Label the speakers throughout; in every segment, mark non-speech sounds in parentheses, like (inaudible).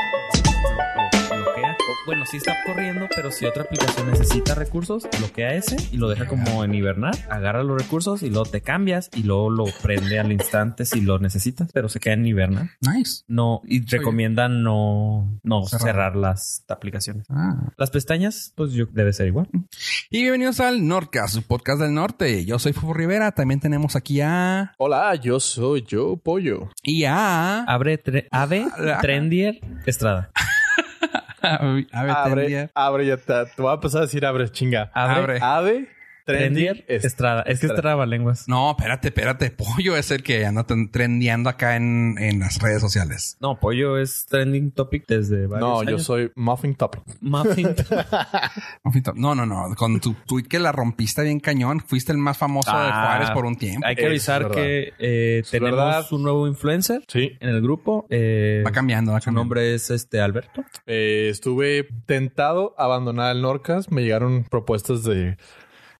Speaker 1: lo- lo bloquea. O- Bueno, sí está corriendo, pero si otra aplicación necesita recursos, bloquea ese y lo deja como en hibernar. Agarra los recursos y luego te cambias y luego lo prende al instante si lo necesitas, pero se queda en hibernar.
Speaker 2: Nice.
Speaker 1: No, y recomiendan no, no
Speaker 2: Cerrar.
Speaker 1: cerrar las aplicaciones.
Speaker 2: Ah.
Speaker 1: Las pestañas, pues yo debe ser igual.
Speaker 2: Y bienvenidos al Nordcast, su podcast del norte. Yo soy Fofo Rivera. También tenemos aquí a.
Speaker 3: Hola, yo soy yo, Pollo.
Speaker 2: Y
Speaker 1: (laughs)
Speaker 2: a.
Speaker 1: Abre tre- Ave Trendier Estrada.
Speaker 3: Abre, abre, ya está. Te voy a empezar a decir abre, chinga.
Speaker 2: Abre.
Speaker 1: Abre,
Speaker 3: Ave,
Speaker 1: Trendier
Speaker 3: trendy,
Speaker 1: Estrada. Es que es trabalenguas.
Speaker 2: No, espérate, espérate. Pollo es el que anda ten- trendeando acá en, en las redes sociales.
Speaker 1: No, pollo es trending topic desde varios
Speaker 3: No, yo
Speaker 1: años.
Speaker 3: soy Muffin Topic.
Speaker 1: Muffin.
Speaker 2: No, no, no. Con tu tweet que la rompiste bien cañón, fuiste el más famoso de
Speaker 1: Ah.
Speaker 2: Juárez por un tiempo.
Speaker 1: Hay que
Speaker 3: Es
Speaker 1: avisar
Speaker 3: verdad.
Speaker 1: que eh,
Speaker 3: Es
Speaker 1: tenemos
Speaker 3: verdad.
Speaker 1: un nuevo influencer
Speaker 3: Sí.
Speaker 1: en el grupo. Eh,
Speaker 2: Va cambiando, va
Speaker 1: su
Speaker 2: cambiando.
Speaker 1: nombre es este Alberto.
Speaker 3: Eh, estuve tentado a abandonar el Norcas. Me llegaron propuestas de,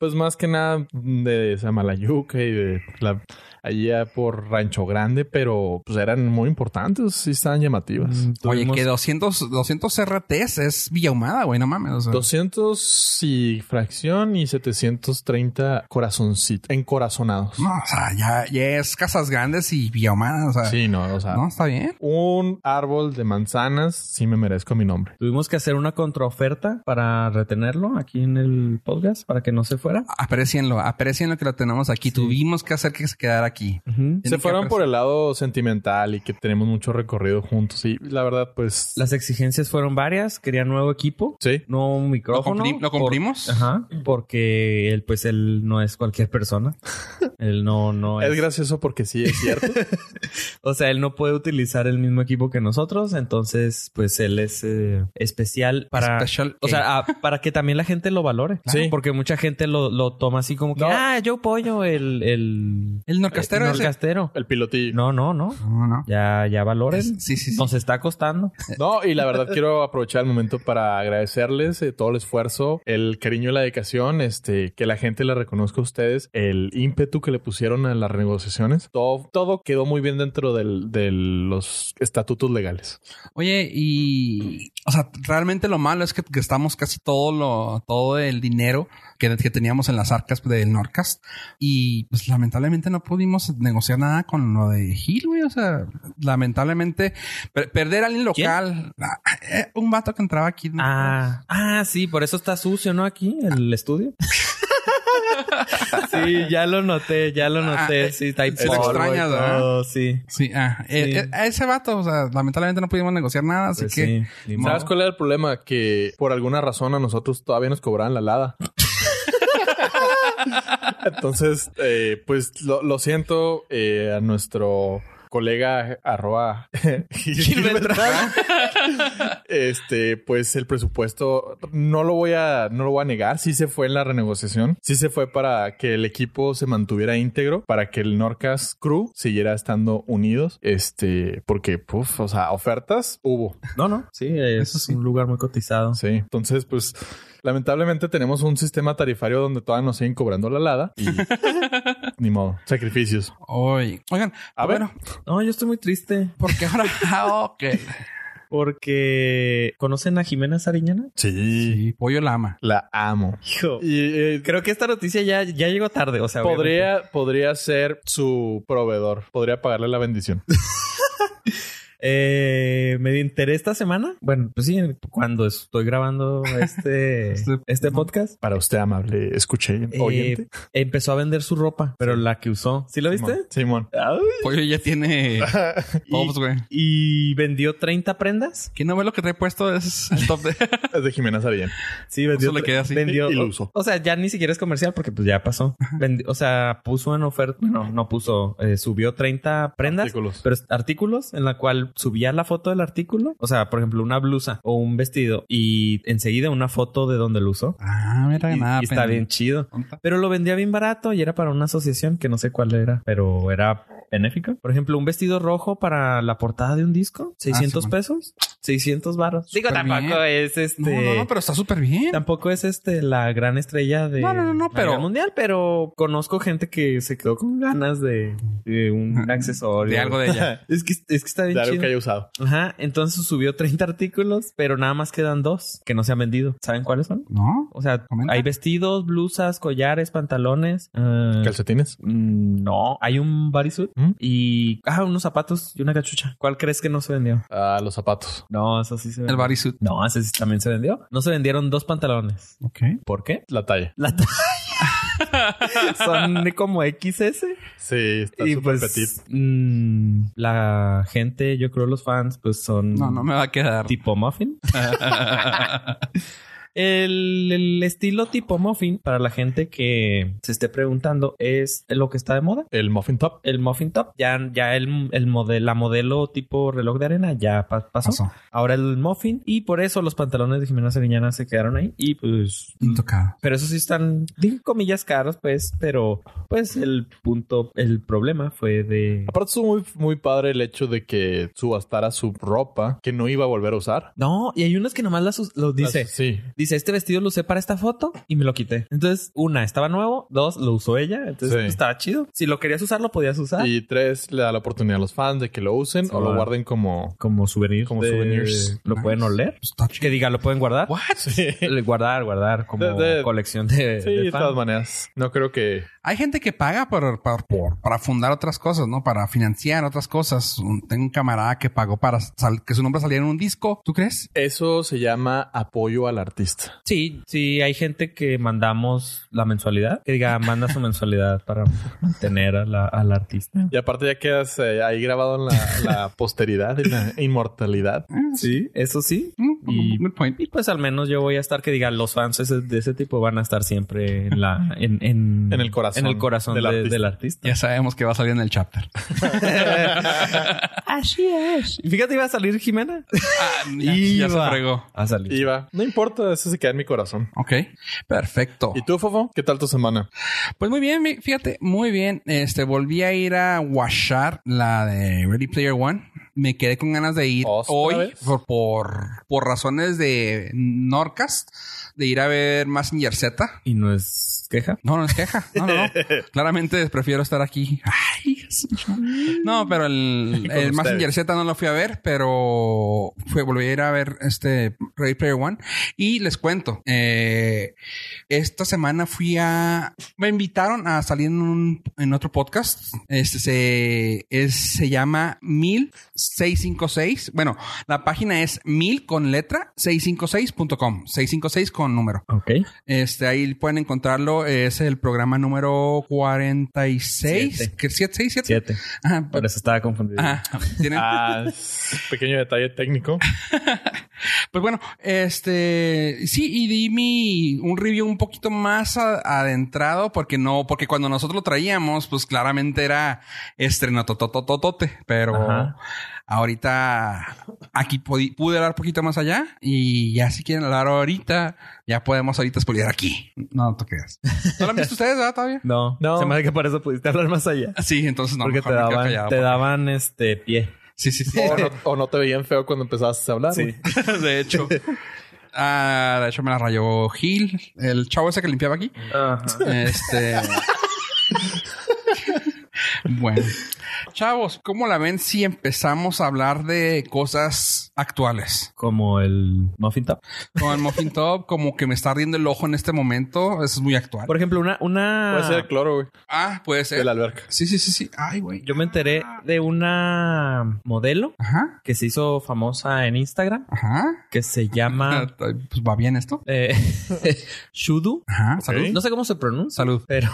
Speaker 3: pues más que nada de Samalayuca y de la, allá por Rancho Grande, pero pues eran muy importantes y estaban llamativas.
Speaker 2: Oye,
Speaker 1: Mm, Tuvimos-
Speaker 2: que 200, 200 RTs es Villahumada, güey. No mames. o sea.
Speaker 3: 200 y fracción y 730 corazoncitos, encorazonados.
Speaker 2: No, o sea, ya, ya es Casas Grandes y Villahumada. (laughs) O sea,
Speaker 3: Sí, no, o sea,
Speaker 2: no, está bien.
Speaker 3: un árbol de manzanas, sí me merezco mi nombre.
Speaker 1: Tuvimos que hacer una contraoferta para retenerlo aquí en el podcast para que no se fuera.
Speaker 2: Aprecienlo, aprecienlo que lo tenemos aquí. Tuvimos que hacer que se quedara aquí.
Speaker 1: Ujú.
Speaker 2: Tiene
Speaker 3: Se
Speaker 2: que
Speaker 3: fueron por
Speaker 2: apreciar.
Speaker 3: el lado sentimental y que tenemos mucho recorrido juntos. Y la verdad, pues
Speaker 1: Las exigencias fueron varias. Quería nuevo equipo,
Speaker 3: sí.
Speaker 1: no un
Speaker 2: ¿Lo,
Speaker 1: micrófono.
Speaker 2: cumpli- lo
Speaker 1: por-
Speaker 2: cumplimos?
Speaker 1: Ajá, porque él, pues, él no es cualquier persona. él no, no
Speaker 3: es gracioso porque sí es cierto.
Speaker 1: O sea, él no puede utilizar el mismo equipo que nosotros, entonces pues él es eh, especial para...
Speaker 2: Special
Speaker 1: O sea, ah, para que también la gente lo valore.
Speaker 3: Claro.
Speaker 1: Sí. Porque mucha gente lo, lo toma así como que...
Speaker 3: No.
Speaker 1: Ah, yo pollo el... El,
Speaker 2: el norcastero
Speaker 1: el
Speaker 2: ese.
Speaker 1: norcastero".
Speaker 3: El pilotillo. No.
Speaker 1: No, no, no.
Speaker 2: No, no.
Speaker 1: Ya, ya valoren.
Speaker 2: Es- sí, sí, sí.
Speaker 1: Nos está costando.
Speaker 3: y la verdad quiero aprovechar el momento para agradecerles eh, todo el esfuerzo, el cariño y la dedicación, este, que la gente le reconozca a ustedes, el ímpetu que le pusieron a las negociaciones. Todo, todo quedó muy bien dentro del- de los estatutos legales.
Speaker 2: Oye, y o sea, realmente lo malo es que, que estamos casi todo lo, todo el dinero que, que teníamos en las arcas del Norcast. Y pues lamentablemente no pudimos negociar nada con lo de Gil, güey. O sea, lamentablemente per- perder a alguien
Speaker 1: ¿Quién?
Speaker 2: local. Ah, eh, Un vato que entraba aquí. ¿no?
Speaker 1: Ah, (laughs) ah, sí, por eso está sucio, ¿no? Aquí, el estudio. (laughs) sí, ya lo noté, ya lo noté.
Speaker 2: Ah,
Speaker 1: sí, está ahí
Speaker 2: se lo
Speaker 1: polvo y
Speaker 2: extrañas, ¿verdad?
Speaker 1: todo, Sí.
Speaker 2: Sí, ah, eh,
Speaker 1: Sí.
Speaker 2: eh, a ese vato, o sea, lamentablemente no pudimos negociar nada, así
Speaker 1: Pues
Speaker 2: que
Speaker 1: sí, ni modo.
Speaker 3: ¿Sabes cuál era el problema? Que por alguna razón a nosotros todavía nos cobraban la lada. Entonces, eh, pues lo, lo siento eh, a nuestro colega arroba (laughs)
Speaker 1: (laughs)
Speaker 3: Gilbertrán. este pues el presupuesto no lo voy a no lo voy a negar sí se fue en la renegociación sí se fue para que el equipo se mantuviera íntegro para que el Norcas crew siguiera estando unidos este porque puf, o sea ofertas hubo
Speaker 1: No, no. Sí, es
Speaker 2: Eso sí.
Speaker 1: un lugar muy cotizado.
Speaker 3: Sí, entonces, pues lamentablemente tenemos un sistema tarifario donde todavía nos siguen cobrando la lada y ni modo, sacrificios.
Speaker 2: Hoy. Oigan,
Speaker 3: A ver.
Speaker 2: bueno,
Speaker 1: No, yo estoy muy triste
Speaker 2: porque ahora. Ah, ok.
Speaker 1: porque conocen a Jimena Sariñana.
Speaker 3: Sí,
Speaker 2: Y Pollo la ama.
Speaker 3: la amo.
Speaker 1: Hijo,
Speaker 3: Y eh,
Speaker 1: creo que esta noticia ya, ya llegó tarde. O sea, obviamente.
Speaker 3: podría, podría ser su proveedor, podría pagarle la bendición.
Speaker 1: Eh, me enteré esta semana. Bueno, pues sí, cuando estoy grabando
Speaker 2: (laughs)
Speaker 1: este,
Speaker 2: Este-
Speaker 1: este podcast.
Speaker 3: Para usted, amable, escuché.
Speaker 1: eh,
Speaker 3: oyente.
Speaker 1: empezó a vender su ropa, pero la que usó. ¿Sí lo viste?
Speaker 3: Simón.
Speaker 1: Ay.
Speaker 2: Pollo ya tiene tops, güey.
Speaker 1: Y vendió 30 prendas.
Speaker 2: ¿Qué novelo que trae puesto es el top de.
Speaker 3: Es de Jimena Sarillán.
Speaker 1: Sí,
Speaker 2: Eso le queda así.
Speaker 1: Vendió,
Speaker 3: Y lo usó.
Speaker 1: O sea, ya ni siquiera es comercial porque pues ya pasó. Vendi- o sea, puso en oferta, bueno, no puso, eh, subió 30 prendas,
Speaker 3: Artículos.
Speaker 1: pero es- artículos en la cual subía la foto del artículo, o sea, por ejemplo, una blusa o un vestido y enseguida una foto de donde lo usó.
Speaker 2: Ah, mira,
Speaker 1: Y-
Speaker 2: nada.
Speaker 1: y está bien chido. Pero lo vendía bien barato y era para una asociación que no sé cuál era, pero era benéfica. Ah, Por ejemplo, un vestido rojo para la portada de un disco, 600
Speaker 2: Simón.
Speaker 1: pesos, 600 varos. Digo,
Speaker 2: Súper
Speaker 1: tampoco es este.
Speaker 2: No, no, no, pero está súper bien.
Speaker 1: Tampoco es este la gran estrella de
Speaker 2: No, no, no, no,
Speaker 1: a nivel
Speaker 2: pero-
Speaker 1: mundial, pero conozco gente que se quedó con ganas de, de un accesorio.
Speaker 2: De algo de ella.
Speaker 1: (laughs) Es que, es que está bien
Speaker 3: De algo
Speaker 1: chido.
Speaker 3: que haya usado.
Speaker 1: Ajá, entonces subió 30 artículos, pero nada más quedan dos que no se han vendido. ¿Saben cuáles son?
Speaker 2: ¿No?
Speaker 1: O sea,
Speaker 2: Comenta.
Speaker 1: hay vestidos, blusas, collares, pantalones. ah,
Speaker 3: ¿Calcetines?
Speaker 1: mm, no, hay un bodysuit
Speaker 3: ¿Mm?
Speaker 1: y ah, unos zapatos y una cachucha. ¿Cuál crees que no se vendió?
Speaker 3: Ah, los zapatos.
Speaker 1: No, eso sí se
Speaker 2: El
Speaker 1: vendió.
Speaker 2: bodysuit.
Speaker 1: No, ese sí también se vendió. No se vendieron dos pantalones.
Speaker 2: Ok.
Speaker 1: ¿Por qué?
Speaker 3: La talla.
Speaker 1: La
Speaker 2: (laughs)
Speaker 1: talla. Son como XS.
Speaker 3: Sí, está
Speaker 1: Y
Speaker 3: súper
Speaker 1: pues
Speaker 3: petit.
Speaker 1: mm, la gente, yo creo los fans, pues son
Speaker 2: No, no me va a quedar.
Speaker 1: (laughs) tipo muffin. El, el estilo tipo muffin, para la gente que se esté preguntando, es lo que está de moda.
Speaker 3: El muffin top.
Speaker 1: El muffin top, ya, ya el, el modelo, la modelo tipo reloj de arena ya pa- pasó.
Speaker 2: Pasó.
Speaker 1: Ahora el muffin y por eso los pantalones de Jimena Seriñana se quedaron ahí y pues...
Speaker 2: Intocado.
Speaker 1: Pero eso sí están, digo comillas, caros, pues, pero pues el punto, el problema fue de...
Speaker 3: Aparte estuvo muy, muy padre el hecho de que subastara su ropa que no iba a volver a usar.
Speaker 1: No, y hay unas que nomás las us- los dice.
Speaker 3: Ah, Sí.
Speaker 1: Dice, este vestido lo usé para esta foto y me lo quité. Entonces, una, estaba nuevo. Dos, lo usó ella. Entonces,
Speaker 3: Sí.
Speaker 1: pues, estaba chido. Si lo querías usar, lo podías usar.
Speaker 3: Y tres, le da la oportunidad a los fans de que lo usen
Speaker 1: ¿Ah? Sí,
Speaker 3: o lo
Speaker 1: va.
Speaker 3: guarden como...
Speaker 1: como souvenirs.
Speaker 3: Como
Speaker 1: de-
Speaker 3: souvenirs.
Speaker 1: Lo pueden oler.
Speaker 2: Está
Speaker 1: Que
Speaker 2: chido.
Speaker 1: diga, lo pueden guardar. Eh,
Speaker 3: ¿What? Sí.
Speaker 1: Le- Guardar, guardar. Como
Speaker 3: De- de-
Speaker 1: colección de,
Speaker 3: (laughs) Sí,
Speaker 1: de
Speaker 3: de
Speaker 1: fan.
Speaker 3: todas maneras. No creo que...
Speaker 2: Hay gente que paga por, por- por- para fundar otras cosas, ¿no? Para financiar otras cosas. Un- tengo un camarada que pagó para sal- que su nombre saliera en un disco. ¿Tú crees?
Speaker 3: Eso se llama apoyo al artista.
Speaker 1: Sí, sí, hay gente que mandamos la mensualidad. Que diga, manda su mensualidad para mantener a la- al artista.
Speaker 3: Y aparte ya quedas eh, ahí grabado en la, la
Speaker 1: (laughs)
Speaker 3: posteridad, en la inmortalidad.
Speaker 1: Sí, eso sí.
Speaker 2: Mm,
Speaker 1: Y-
Speaker 2: Good point.
Speaker 1: Y pues al menos yo voy a estar que diga los fans ese- de ese tipo van a estar siempre en la en, en,
Speaker 3: En el corazón
Speaker 1: en el corazón de-
Speaker 3: del
Speaker 1: del,
Speaker 3: artista.
Speaker 1: artista.
Speaker 2: Ya sabemos que va a salir en el chapter. (laughs)
Speaker 4: Así es.
Speaker 1: Fíjate iba a salir (laughs) Jimena
Speaker 2: y Ah, ya se
Speaker 1: Iba.
Speaker 2: fregó.
Speaker 1: a salir.
Speaker 3: Iba. No importa, eso se queda en mi corazón.
Speaker 2: Ok,
Speaker 1: Oh.
Speaker 2: perfecto.
Speaker 3: ¿Y tú, Fofo? ¿Qué tal tu semana?
Speaker 2: Pues muy bien, mi- fíjate, muy bien. Este, volví a ir a Washar, la de Ready Player One. Me quedé con ganas de ir
Speaker 3: ¿Otra
Speaker 2: hoy
Speaker 3: vez?
Speaker 2: por, por, por razones de Norcast, de ir a ver Massinger Z.
Speaker 1: Y no es queja.
Speaker 2: No, no es queja. No, no,
Speaker 3: (laughs)
Speaker 2: no. Claramente prefiero estar aquí. Ay, Jesús. no, pero el,
Speaker 3: Con
Speaker 2: el Massinger
Speaker 3: ustedes.
Speaker 2: Z no lo fui a ver, pero fui, volví a ir a ver este Ready Player One. Y les cuento, eh, esta semana fui a... Me invitaron a salir en, un- en otro podcast. Este se, es- se llama 1656. Bueno, la página es 1000 con letra 656.com. 656 con número.
Speaker 1: Ok.
Speaker 2: Este, ahí pueden encontrarlo. Es el programa número 46.
Speaker 1: Siete.
Speaker 2: ¿Qué? ¿Siete? ¿Seis? ¿Siete?
Speaker 1: Siete.
Speaker 2: Ajá, pues,
Speaker 1: Por eso estaba confundido.
Speaker 2: ajá. Tienen-
Speaker 3: Ah, es un (laughs) pequeño detalle
Speaker 1: (laughs)
Speaker 3: técnico.
Speaker 2: Pues bueno, este sí, y di mi un review un poquito más a- adentrado, porque no, porque cuando nosotros lo traíamos, pues claramente era estreno totototote, pero
Speaker 1: Ajá.
Speaker 2: ahorita aquí podi- pude hablar poquito más allá y ya si quieren hablar ahorita, ya podemos ahorita spoilear aquí. No, no te creas. ¿No lo han visto ustedes, verdad, todavía?
Speaker 1: No,
Speaker 3: No.
Speaker 1: Se me hace que por eso pudiste hablar más allá.
Speaker 2: Sí, entonces no.
Speaker 1: porque
Speaker 2: mejor
Speaker 1: te
Speaker 2: me quedo
Speaker 1: daban,
Speaker 2: callado,
Speaker 1: te Oh,
Speaker 2: porque-
Speaker 1: daban este pie.
Speaker 2: Sí, sí, sí.
Speaker 3: O no, o no te veían feo cuando empezabas a hablar. güey.
Speaker 2: (laughs) de
Speaker 1: (laughs)
Speaker 2: hecho. Ah, de hecho me la rayó Gil, el chavo ese que limpiaba aquí. Este. (laughs) bueno. Chavos, ¿cómo la ven si empezamos a hablar de cosas actuales?
Speaker 1: Como el muffin top.
Speaker 2: Con el Muffin Top, como que me está ardiendo el ojo en este momento. Eso es muy actual.
Speaker 1: Por ejemplo, una, una.
Speaker 3: Puede ser el cloro, güey,
Speaker 2: Ah, puede ser.
Speaker 3: de la alberca.
Speaker 2: Sí, sí, sí, sí. Ay, güey.
Speaker 1: Yo me enteré de una modelo
Speaker 2: Ajá,
Speaker 1: que se hizo famosa en Instagram
Speaker 2: ajá.
Speaker 1: que se llama
Speaker 2: (laughs) Pues va bien esto.
Speaker 1: Eh, (laughs) Shudu.
Speaker 2: Ajá. Salud.
Speaker 1: No sé cómo se pronuncia.
Speaker 2: Salud. (laughs)
Speaker 1: Pero.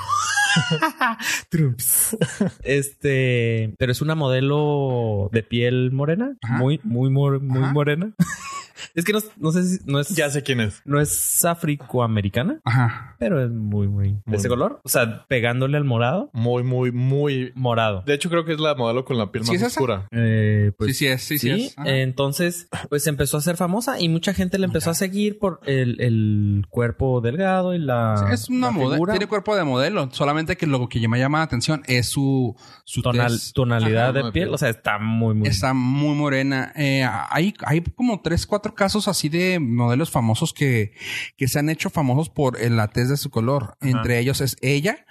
Speaker 1: Trumps. Este. Pero es una modelo de piel morena.
Speaker 2: Ajá.
Speaker 1: Muy, muy, mor- muy
Speaker 2: Ajá.
Speaker 1: morena. (laughs) Es que no, no sé si no es,
Speaker 3: Ya sé quién es.
Speaker 1: no es afroamericana,
Speaker 2: Ajá.
Speaker 1: pero es muy, muy, de
Speaker 3: Muy-
Speaker 1: ese color. O sea, pegándole al morado,
Speaker 3: Muy, muy, muy.
Speaker 1: morado.
Speaker 3: De hecho, creo que es la modelo con la piel
Speaker 2: ¿Sí
Speaker 3: más
Speaker 2: es esa?
Speaker 3: oscura.
Speaker 1: Eh, pues,
Speaker 2: sí, sí es, sí, sí,
Speaker 1: Sí, eh,
Speaker 2: es. Ajá.
Speaker 1: entonces, pues empezó a ser famosa y mucha gente le empezó a seguir por el, el cuerpo delgado y la.
Speaker 2: Sí, es una
Speaker 1: la
Speaker 2: modelo.
Speaker 1: figura.
Speaker 2: Tiene cuerpo de modelo. Solamente que lo que me llama la atención es su, su
Speaker 1: Tonal-
Speaker 2: tez.
Speaker 1: tonalidad
Speaker 3: Ajá,
Speaker 1: de
Speaker 3: muy
Speaker 1: piel.
Speaker 3: bien.
Speaker 1: O sea, está muy, muy.
Speaker 2: Está muy morena. Eh, hay, hay como tres, cuatro casos así de modelos famosos que, que se han hecho famosos por eh, la tez de su color. Entre ellos es ella,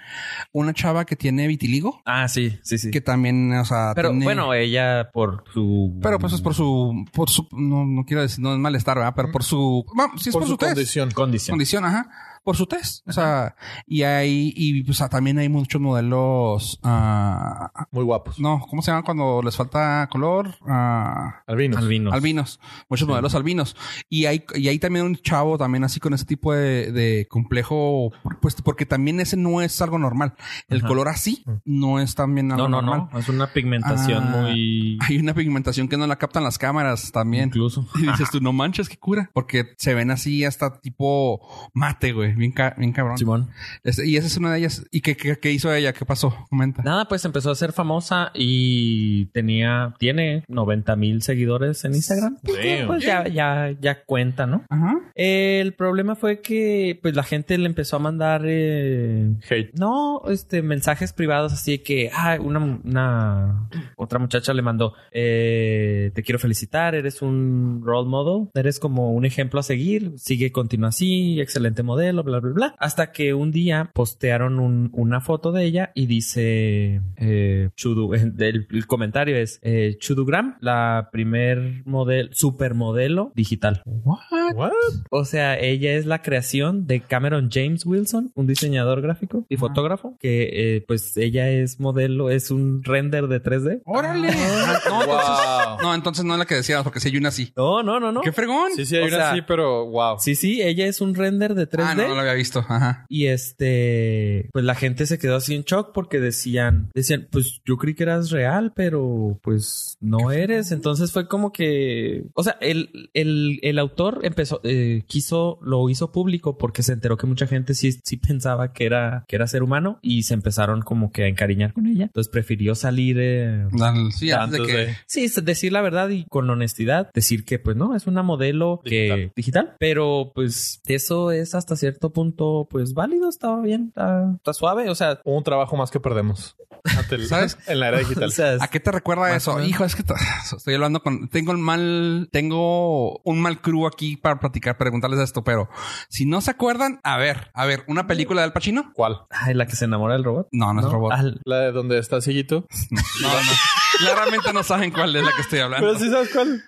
Speaker 2: una chava que tiene vitiligo,
Speaker 1: Ah, sí, sí, sí.
Speaker 2: que también, o sea,
Speaker 1: Pero
Speaker 2: tiene-
Speaker 1: bueno, ella por su.
Speaker 2: Pero pues es por su, por su, no, no quiero decir, no es malestar, ¿verdad? Pero por su, vamos, sí es por,
Speaker 3: por,
Speaker 2: su,
Speaker 3: su
Speaker 2: test.
Speaker 3: condición.
Speaker 1: condición.
Speaker 2: condición, ajá, por su test. O sea, y hay, y pues ah, también hay muchos modelos, ah,
Speaker 3: Muy guapos.
Speaker 2: no, ¿cómo se llaman cuando les falta color? Ah,
Speaker 3: Albinos.
Speaker 1: Albino.
Speaker 2: albinos, muchos modelos albinos. Y hay, y hay también un chavo también así con ese tipo de, de complejo, pues porque también ese no es algo normal. El
Speaker 1: Ajá. Mm.
Speaker 2: color así no es también algo
Speaker 1: No, no,
Speaker 2: normal.
Speaker 1: no. Es una pigmentación
Speaker 2: Ah,
Speaker 1: muy.
Speaker 2: Hay una pigmentación que no la captan las cámaras también.
Speaker 1: Incluso.
Speaker 2: (laughs) Y dices tú, no manches, qué cura. Porque se ven así hasta tipo mate, güey. Bien, ca- bien cabrón.
Speaker 1: Simón.
Speaker 2: Este, y esa es una de ellas. ¿Y qué, qué- qué hizo ella? ¿Qué pasó? Comenta.
Speaker 1: Nada, pues empezó a ser famosa y tenía, tiene 90 mil seguidores en Instagram.
Speaker 3: Damn.
Speaker 1: Pues ya, ya, ya cuenta, ¿no?
Speaker 2: Ajá.
Speaker 1: El problema fue que pues la gente le empezó a mandar eh,
Speaker 3: Hate.
Speaker 1: no, este mensajes privados así de que ah, una, una- otra muchacha le mandó eh, te quiero felicitar, eres un role model, eres como un ejemplo a seguir, sigue continúa así, excelente modelo, bla bla bla. Hasta que un día postearon un- una foto de ella y dice eh, Chudu, el, el comentario es eh, Chudugram, la primer modelo, supermodelo digital.
Speaker 3: What?
Speaker 1: O sea, ella es la creación de Cameron James Wilson, un diseñador gráfico y fotógrafo, que eh, pues ella es modelo, es un render de 3D.
Speaker 2: Órale. no, entonces,
Speaker 3: Wow.
Speaker 2: no, entonces no es la que decías, porque si hay una así.
Speaker 1: No, no, no, no.
Speaker 2: ¿Qué fregón?
Speaker 3: Sí, sí, hay
Speaker 1: O
Speaker 3: una
Speaker 1: sea-
Speaker 3: sí, pero wow.
Speaker 1: Sí, sí, ella es un render de 3D.
Speaker 2: ah, no, no lo había visto. Ajá.
Speaker 1: Y este, pues la gente se quedó así en shock porque decían, decían, pues yo creí que eras real, pero pues no eres. Entonces fue como que, o sea, el, el, el autor empezó, eh, quiso, lo hizo público porque se enteró que mucha gente sí, sí pensaba que era, que era ser humano y se empezaron como que a encariñar con ella. Entonces prefirió salir, eh,
Speaker 2: Dale, Sí, antes de
Speaker 3: Antes
Speaker 2: que.
Speaker 3: de-
Speaker 1: Sí, es decir la verdad y con honestidad, decir que pues no, es una modelo digital.
Speaker 3: Digital.
Speaker 1: Que, digital, pero pues eso es hasta cierto punto pues válido, estaba bien, está, está suave, o sea,
Speaker 3: Un trabajo más que perdemos. Ante el-
Speaker 2: ¿Sabes?
Speaker 3: (laughs) En la
Speaker 1: (laughs)
Speaker 3: era
Speaker 1: o
Speaker 3: digital.
Speaker 1: sea, es-
Speaker 2: ¿A qué te recuerda
Speaker 1: Más o
Speaker 2: eso?
Speaker 1: menos.
Speaker 2: Hijo, es que t- estoy hablando con. Tengo el mal. Tengo un mal crew aquí para platicar, preguntarles esto, pero si no se acuerdan, a ver, a ver, una película del Pachino.
Speaker 3: ¿Cuál?
Speaker 1: ay, la que se enamora del robot.
Speaker 2: No, no es robot.
Speaker 1: Al-
Speaker 3: La de donde está Siguito.
Speaker 2: No, no. Claramente no saben cuál es la que estoy hablando.
Speaker 3: sí sabes
Speaker 1: (laughs)
Speaker 3: cuál.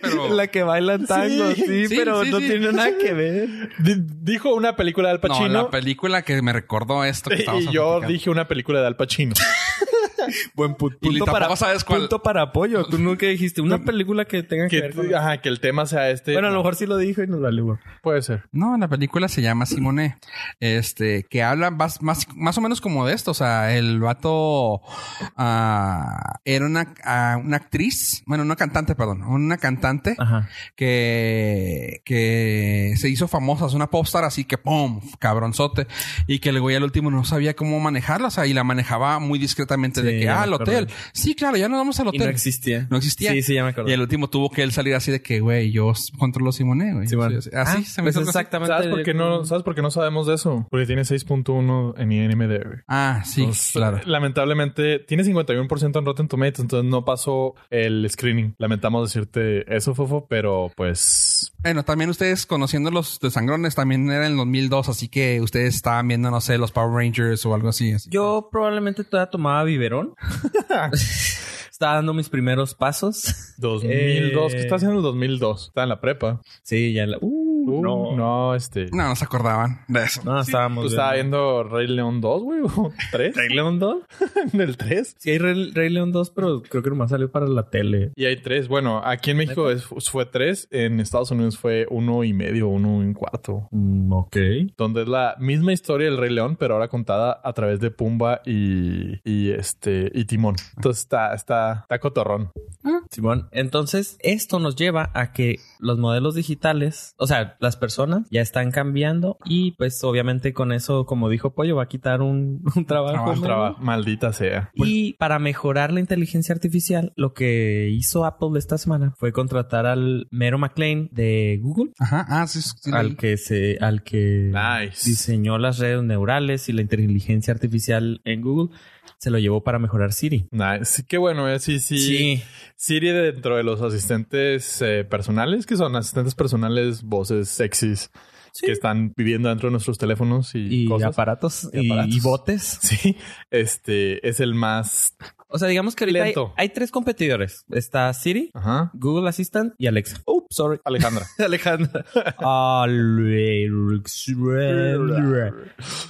Speaker 2: pero-
Speaker 1: La que baila tango, sí,
Speaker 2: Sí,
Speaker 1: pero
Speaker 2: sí,
Speaker 1: no
Speaker 2: sí.
Speaker 1: tiene nada que ver.
Speaker 3: Di- dijo una película de Al Pacino.
Speaker 2: No, la película que me recordó esto que estábamos
Speaker 3: (laughs) y yo
Speaker 2: platicando.
Speaker 3: dije una película de
Speaker 1: (laughs)
Speaker 3: Al Pacino.
Speaker 1: Buen punto.
Speaker 2: Y tampoco sabes cuál.
Speaker 1: Punto para apoyo. Tú nunca dijiste una película que tenga que,
Speaker 3: que,
Speaker 1: ver con...
Speaker 3: ajá, que el tema sea este.
Speaker 1: Bueno, a lo mejor sí lo dijo y nos valió. güey.
Speaker 3: Puede ser.
Speaker 2: No, la película se llama Simone. Este, que habla más, más, más o menos como de esto. O sea, el vato ah, era una, ah, una actriz, bueno, una cantante, perdón, una cantante
Speaker 1: Ajá.
Speaker 2: que, que se hizo famosa, es una popstar así que ¡pum! cabronzote. Y que el güey al último no sabía cómo manejarla, o sea, y la manejaba muy discretamente
Speaker 1: Sí,
Speaker 2: de que,
Speaker 1: ya me
Speaker 2: ah, al
Speaker 1: acuerdo.
Speaker 2: hotel. Sí, claro, ya nos vamos al
Speaker 1: Y no
Speaker 2: hotel.
Speaker 1: existía.
Speaker 2: No existía.
Speaker 1: Sí, sí, ya me
Speaker 2: Y
Speaker 1: acordé.
Speaker 2: el último tuvo que él salir así de que, güey, yo controlo Simone, güey.
Speaker 1: Sí, bueno.
Speaker 2: Sí, Así
Speaker 1: Ah,
Speaker 2: se me
Speaker 1: pues
Speaker 2: hizo algo así.
Speaker 1: exactamente. Mm.
Speaker 3: ¿Sabes por, qué no, ¿Sabes por qué no sabemos de eso? Porque tiene 6.1 en IMDb. güey.
Speaker 2: Ah, sí,
Speaker 3: Entonces,
Speaker 2: claro.
Speaker 3: Lamentablemente, tiene 51% en Rotten Tomatoes, entonces no pasó el screening. Lamentamos decirte eso, Fofo, pero pues...
Speaker 2: Bueno, también ustedes conociendo los de sangrones también era en el 2002, así que ustedes estaban viendo, no sé, los Power Rangers o algo así. así.
Speaker 1: Yo probablemente todavía tomaba biberón.
Speaker 2: (laughs)
Speaker 1: Estaba dando mis primeros pasos. (laughs)
Speaker 3: 2002. ¿Qué
Speaker 1: Eh.
Speaker 3: está haciendo en el 2002? Está en la prepa.
Speaker 1: Sí, ya la... Uh,
Speaker 3: Tú,
Speaker 1: No.
Speaker 3: no. pues, este.
Speaker 2: No, no se acordaban de eso.
Speaker 1: No, estábamos.
Speaker 3: Tú
Speaker 1: viendo-
Speaker 3: estabas viendo Rey León 2, güey, o 3.
Speaker 1: ¿Rey León 2?
Speaker 3: (laughs) en el 3.
Speaker 1: Sí, hay Rey, Rey León 2, pero creo que nomás salió para la tele.
Speaker 3: Y hay 3. Bueno, aquí en México es- fue 3. En Estados Unidos fue uno y medio, uno y un cuarto.
Speaker 1: Mm, ok.
Speaker 3: Donde es la misma historia del Rey León, pero ahora contada a través de Pumba y, y este y Timón. Entonces está, está, está cotorrón.
Speaker 1: Simón, entonces esto nos lleva a que los modelos digitales, o sea, las personas ya están cambiando y pues obviamente con eso, como dijo Pollo, va a quitar un, (laughs) un
Speaker 2: Ah,
Speaker 1: trabajo.
Speaker 2: Trabajo,
Speaker 3: Un
Speaker 1: ¿no?
Speaker 3: trabajo. Maldita sea.
Speaker 1: Y para mejorar la inteligencia artificial, lo que hizo Apple esta semana fue contratar al Mero McLean de Google,
Speaker 2: Ajá. Ah, sí. sí, sí.
Speaker 1: al que se, al que
Speaker 3: Nice.
Speaker 1: diseñó las redes neurales y la inteligencia artificial en Google, se lo llevó para mejorar Siri.
Speaker 3: Nice. Sí, qué bueno, eh. Sí, sí. Siri dentro de los asistentes eh, personales, que son asistentes personales, voces sexys
Speaker 1: Sí.
Speaker 3: que están viviendo dentro de nuestros teléfonos
Speaker 1: Y
Speaker 3: y, cosas.
Speaker 1: aparatos,
Speaker 3: Y aparatos.
Speaker 1: y- y botes.
Speaker 3: (laughs) Sí, este es el más.
Speaker 1: O sea, digamos que ahorita hay,
Speaker 3: Lento.
Speaker 1: hay tres competidores. Está Siri,
Speaker 3: Ajá.
Speaker 1: Google Assistant y Alexa. Oops, sorry.
Speaker 3: (laughs) Alejandra.
Speaker 1: Alejandra. Alexandra.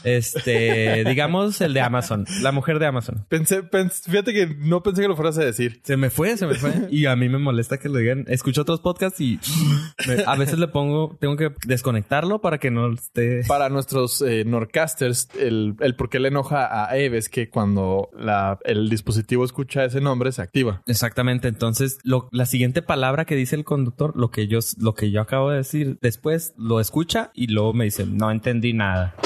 Speaker 1: este, digamos el de Amazon, la mujer de Amazon.
Speaker 3: Pensé, pens- fíjate que no pensé que lo fueras a decir.
Speaker 1: Se me fue, se me fue. Y a mí me molesta que lo digan. Escucho otros podcasts y me- a veces le pongo, tengo que desconectarlo para que no esté.
Speaker 3: Para nuestros eh, Norcasters, el, el por qué le enoja a Eve es que cuando la- el dispositivo escucha ese nombre se activa.
Speaker 1: Exactamente. Entonces, lo- la siguiente palabra que dice el conductor, lo que yo, lo que yo acabo de decir, después lo escucha y luego me dice, no entendí nada.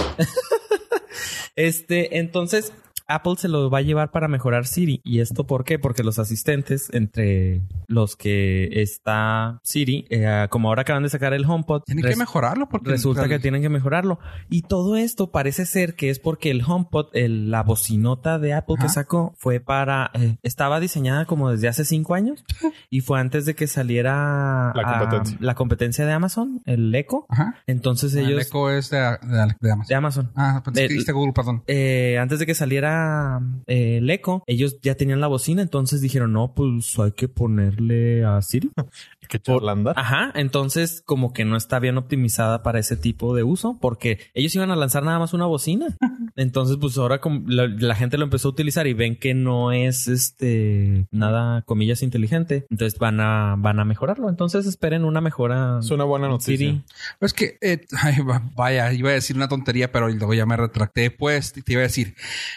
Speaker 1: (laughs) este, entonces, Apple se lo va a llevar para mejorar Siri. ¿Y esto por qué? Porque los asistentes, entre los que está Siri, eh, como ahora acaban de sacar el HomePod,
Speaker 2: Tienen
Speaker 1: res-
Speaker 2: que mejorarlo porque
Speaker 1: Resulta
Speaker 2: o sea,
Speaker 1: que tienen que mejorarlo. Y todo esto parece ser que es porque el HomePod, el- la bocinota de Apple que
Speaker 2: Ajá.
Speaker 1: sacó, fue para. eh, estaba diseñada como desde hace
Speaker 2: (laughs)
Speaker 1: cinco años y fue antes de que saliera
Speaker 3: La
Speaker 1: ah,
Speaker 3: competencia.
Speaker 1: la competencia de Amazon, el Echo.
Speaker 2: Ajá.
Speaker 1: Entonces
Speaker 2: Ah, El
Speaker 1: ellos.
Speaker 2: eco es de, de, de Amazon.
Speaker 1: De Amazon.
Speaker 2: Ah, pensé
Speaker 1: El-
Speaker 2: que dijiste Google, perdón.
Speaker 1: Eh, antes de que saliera eh, el Echo, ellos ya tenían la bocina, entonces dijeron, no, pues hay que ponerle a Siri.
Speaker 3: Que charlanda.
Speaker 1: Ajá, entonces como que no está bien optimizada para ese tipo de uso porque ellos iban a lanzar nada más una bocina. Entonces pues ahora como la, la gente lo empezó a utilizar y ven que no es este nada comillas inteligente, entonces van a van a mejorarlo. Entonces esperen una mejora.
Speaker 3: Es una buena
Speaker 1: en Siri.
Speaker 3: noticia.
Speaker 2: Es que, eh, (laughs) ay, va- vaya, iba a decir una tontería, pero luego ya me retracté. Pues te iba a decir,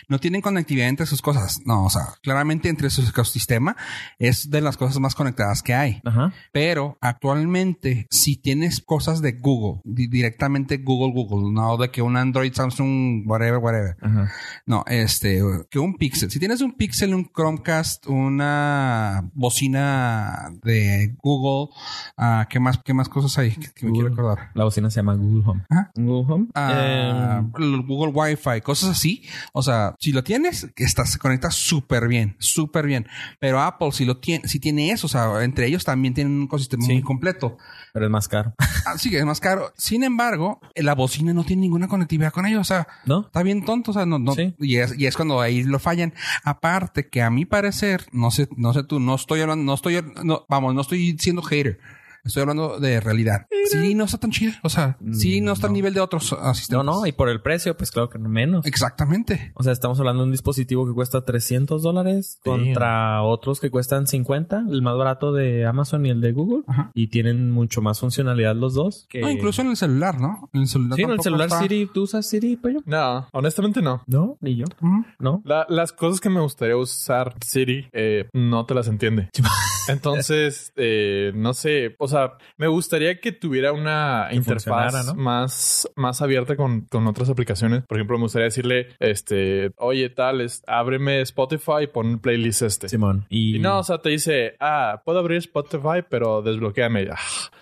Speaker 2: no tienen conectividad entre sus cosas. No, o sea, claramente entre su ecosistema es de las cosas más conectadas que hay.
Speaker 1: Ajá.
Speaker 2: Pero actualmente, si tienes cosas de Google, di- directamente Google, Google, no de que un Android, Samsung, whatever, whatever.
Speaker 1: Ajá.
Speaker 2: No, este, que un Pixel. Si tienes un Pixel, un Chromecast, una bocina de Google, ah, ¿qué más, qué más cosas hay que, que me quiero
Speaker 1: Google.
Speaker 2: acordar?
Speaker 1: La bocina se llama Google Home.
Speaker 2: Ajá.
Speaker 1: Google Home. em,
Speaker 2: Ah, el Google Wi-Fi, cosas así. O sea, si lo tienes, que estás, se conecta súper bien, súper bien. Pero Apple, si lo tiene, si tiene eso, o sea, entre ellos también tienen un ecosistema
Speaker 1: Sí.
Speaker 2: muy completo.
Speaker 1: Eh, pero es más caro.
Speaker 2: Así que es más caro. Sin embargo, la bocina no tiene ninguna conectividad con ellos. O sea,
Speaker 1: ¿No?
Speaker 2: está bien tonto. O sea, no, no,
Speaker 1: Sí.
Speaker 2: y, es, y es cuando ahí lo fallan. Aparte que a mi parecer, no sé, no sé tú, no estoy hablando, no estoy, no, vamos, no estoy siendo hater. Estoy hablando de realidad. Sí, no está tan chida. O sea, sí, no está al nivel de otros
Speaker 1: No,
Speaker 2: asistentes.
Speaker 1: no, y por el precio pues claro que no menos.
Speaker 2: Exactamente.
Speaker 1: O sea, estamos hablando de un dispositivo que cuesta 300 dólares contra otros que cuestan 50, el más barato de Amazon y el de Google.
Speaker 2: Ajá.
Speaker 1: Y tienen mucho más funcionalidad los dos. Que...
Speaker 2: No, incluso en el celular, ¿no? En el celular.
Speaker 1: Eh, Sí, en el
Speaker 2: tampoco
Speaker 1: celular
Speaker 2: está-
Speaker 1: Siri, ¿tú usas Siri, Pollo?
Speaker 3: No, honestamente no.
Speaker 1: No, ni yo.
Speaker 2: Ujú.
Speaker 1: No.
Speaker 3: La- las cosas que me gustaría usar Siri eh, no te las entiende.
Speaker 1: (laughs)
Speaker 3: Entonces, eh, no sé, o sea, me gustaría que tuviera una
Speaker 1: Que funcionara,
Speaker 3: interfaz
Speaker 1: ¿no?
Speaker 3: más, más abierta con, con otras aplicaciones. Por ejemplo, me gustaría decirle, este, oye, tal, es- ábreme Spotify y pon un playlist este.
Speaker 1: Simón. Y,
Speaker 3: Y no, o sea, te dice, ah, puedo abrir Spotify, pero desbloqueame. Ah,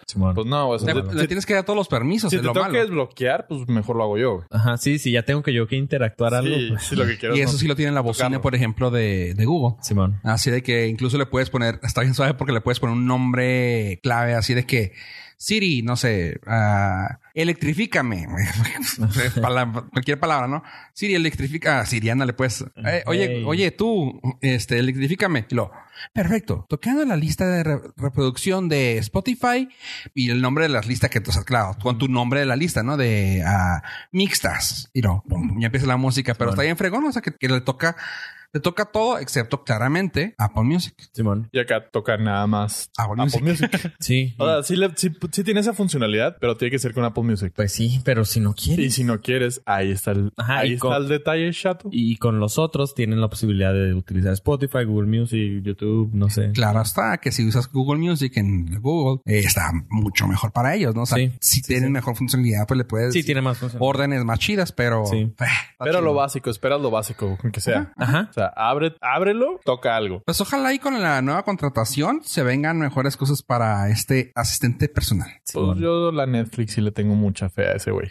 Speaker 1: Simón.
Speaker 3: pues no, o sea,
Speaker 2: Le,
Speaker 3: si-
Speaker 2: le tienes que dar todos los permisos.
Speaker 3: si
Speaker 2: es
Speaker 3: te
Speaker 2: lo
Speaker 3: tengo
Speaker 2: malo.
Speaker 3: que desbloquear, pues mejor lo hago yo. güey.
Speaker 1: Ajá, sí, sí, ya tengo que yo que interactuar algo.
Speaker 3: Sí,
Speaker 1: pues.
Speaker 3: sí, lo que quiero
Speaker 2: Y
Speaker 3: es
Speaker 2: eso
Speaker 3: no-
Speaker 2: sí lo tiene la bocina,
Speaker 3: tocarlo.
Speaker 2: por ejemplo, de, de Google.
Speaker 1: Simón.
Speaker 2: Así de que incluso le puedes poner, está bien suave porque le puedes poner un nombre clave, así de que Siri, no sé, ah, electrifícame. (laughs) Pala- cualquier palabra, ¿no? Siri, electrifica. Ah, Siri, ándale, pues. Eh, oye,
Speaker 1: Ok.
Speaker 2: oye, tú, este, electrifícame. Y lo, Perfecto. Tocando la lista de re- reproducción de Spotify y el nombre de las listas que tú has claro, con tu nombre de la lista, ¿no? De ah, mixtas. Y no, pum, ya empieza la música, pero está bien fregón, o sea, que, que le toca, le toca todo, excepto claramente Apple Music.
Speaker 1: Simón.
Speaker 3: Y acá toca nada más
Speaker 2: Apple
Speaker 3: Apple,
Speaker 2: Music. (laughs)
Speaker 3: Music.
Speaker 1: Sí.
Speaker 3: o sea, sí, le- sí- sí tiene esa funcionalidad, pero tiene que ser con Apple Music.
Speaker 1: Pues sí, pero si no
Speaker 3: Y
Speaker 1: quieres.
Speaker 3: si no quieres, ahí está el,
Speaker 1: Ajá,
Speaker 3: ahí
Speaker 1: y
Speaker 3: está
Speaker 1: con-
Speaker 3: el detalle, chato.
Speaker 1: Y con los otros tienen la posibilidad de utilizar Spotify, Google Music, YouTube, no sé.
Speaker 2: Claro está que si usas Google Music en Google, eh, está mucho mejor para ellos, ¿no? O sea,
Speaker 1: Sí.
Speaker 2: si tienen mejor funcionalidad, pues le puedes
Speaker 1: Sí, tiene más funciones.
Speaker 2: órdenes más chidas, pero...
Speaker 1: Sí.
Speaker 2: eh, está
Speaker 3: Ah, Pero lo
Speaker 2: chido.
Speaker 3: básico, esperas lo básico, que sea.
Speaker 1: Ajá.
Speaker 3: O sea, abre, ábrelo, toca algo.
Speaker 2: Pues ojalá y con la nueva contratación se vengan mejores cosas para este asistente personal.
Speaker 3: Pues
Speaker 1: Simón.
Speaker 3: yo la Netflix sí le tengo mucha fe a ese
Speaker 1: (laughs)
Speaker 3: güey.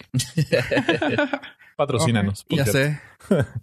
Speaker 3: Patrocínanos.
Speaker 2: Ok,
Speaker 3: por
Speaker 2: Ya
Speaker 3: cierto.
Speaker 2: sé.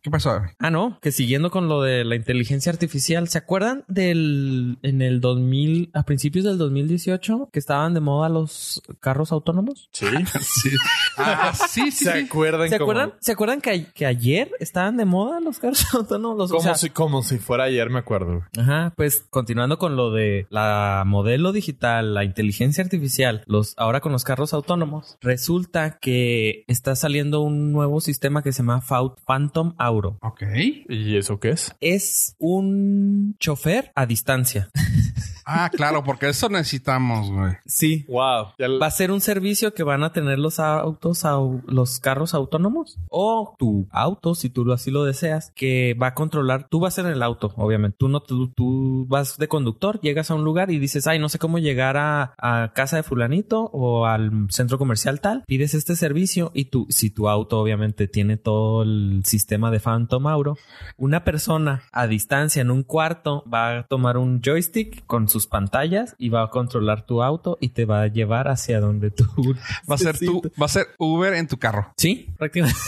Speaker 2: ¿Qué pasó?
Speaker 1: Ah, no, que siguiendo con lo de la inteligencia artificial, ¿se acuerdan del en el 2000 a principios del 2018 que estaban de moda los carros autónomos?
Speaker 3: Sí.
Speaker 2: Sí.
Speaker 3: (laughs)
Speaker 2: Ah, sí, sí,
Speaker 3: ¿Se
Speaker 2: sí.
Speaker 3: acuerdan?
Speaker 1: ¿Se
Speaker 3: como-
Speaker 1: acuerdan? ¿Se acuerdan que, a- que ayer estaban de moda los carros (laughs) autónomos? Los- o
Speaker 3: Como,
Speaker 1: sea,
Speaker 3: si, como si fuera ayer, me acuerdo.
Speaker 1: Ajá, pues continuando con lo de la modelo digital, la inteligencia artificial, los ahora con los carros autónomos, resulta que está saliendo un nuevo sistema que se llama Fau- Phantom Auro.
Speaker 2: Ok.
Speaker 3: ¿Y eso qué es?
Speaker 1: Es un chofer a distancia. (laughs)
Speaker 2: Ah, claro, porque eso necesitamos, güey.
Speaker 1: Sí.
Speaker 3: Wow. Ya l-
Speaker 1: ¿Va a ser un servicio que van a tener los autos, au- los carros autónomos? O tu auto, si tú lo- así lo deseas, que va a controlar, tú vas en el auto, obviamente, tú no, tú, tú vas de conductor, llegas a un lugar y dices, ay, no sé cómo llegar a, a casa de fulanito o al centro comercial tal, pides este servicio y tú, si tu auto obviamente tiene todo el sistema de Phantom Auro, una persona a distancia en un cuarto va a tomar un joystick con sus pantallas y va a controlar tu auto y te va a llevar hacia donde tú (laughs)
Speaker 2: Va a ser tú, va a ser Uber en tu carro.
Speaker 1: Sí, prácticamente.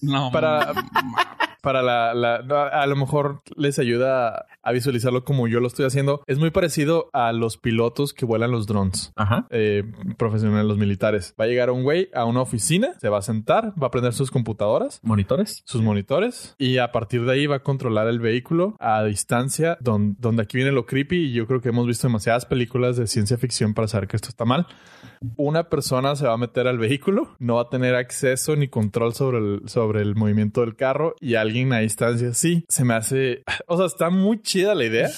Speaker 2: No.
Speaker 3: Para, (laughs) para la, la- no, A lo mejor les ayuda a visualizarlo como yo lo estoy haciendo. Es muy parecido a los pilotos que vuelan los drones.
Speaker 1: Ajá.
Speaker 3: eh, profesionales, los militares. Va a llegar un güey a una oficina, se va a sentar, va a prender sus computadoras,
Speaker 1: Monitores.
Speaker 3: sus monitores, y a partir de ahí va a controlar el vehículo a distancia, don- donde aquí viene lo creepy, y yo creo que hemos visto demasiadas películas de ciencia ficción para saber que esto está mal. Una persona se va a meter al vehículo, no va a tener acceso ni control sobre el, sobre el movimiento del carro, y alguien a distancia sí. Se me hace... O sea, está muy chida la idea.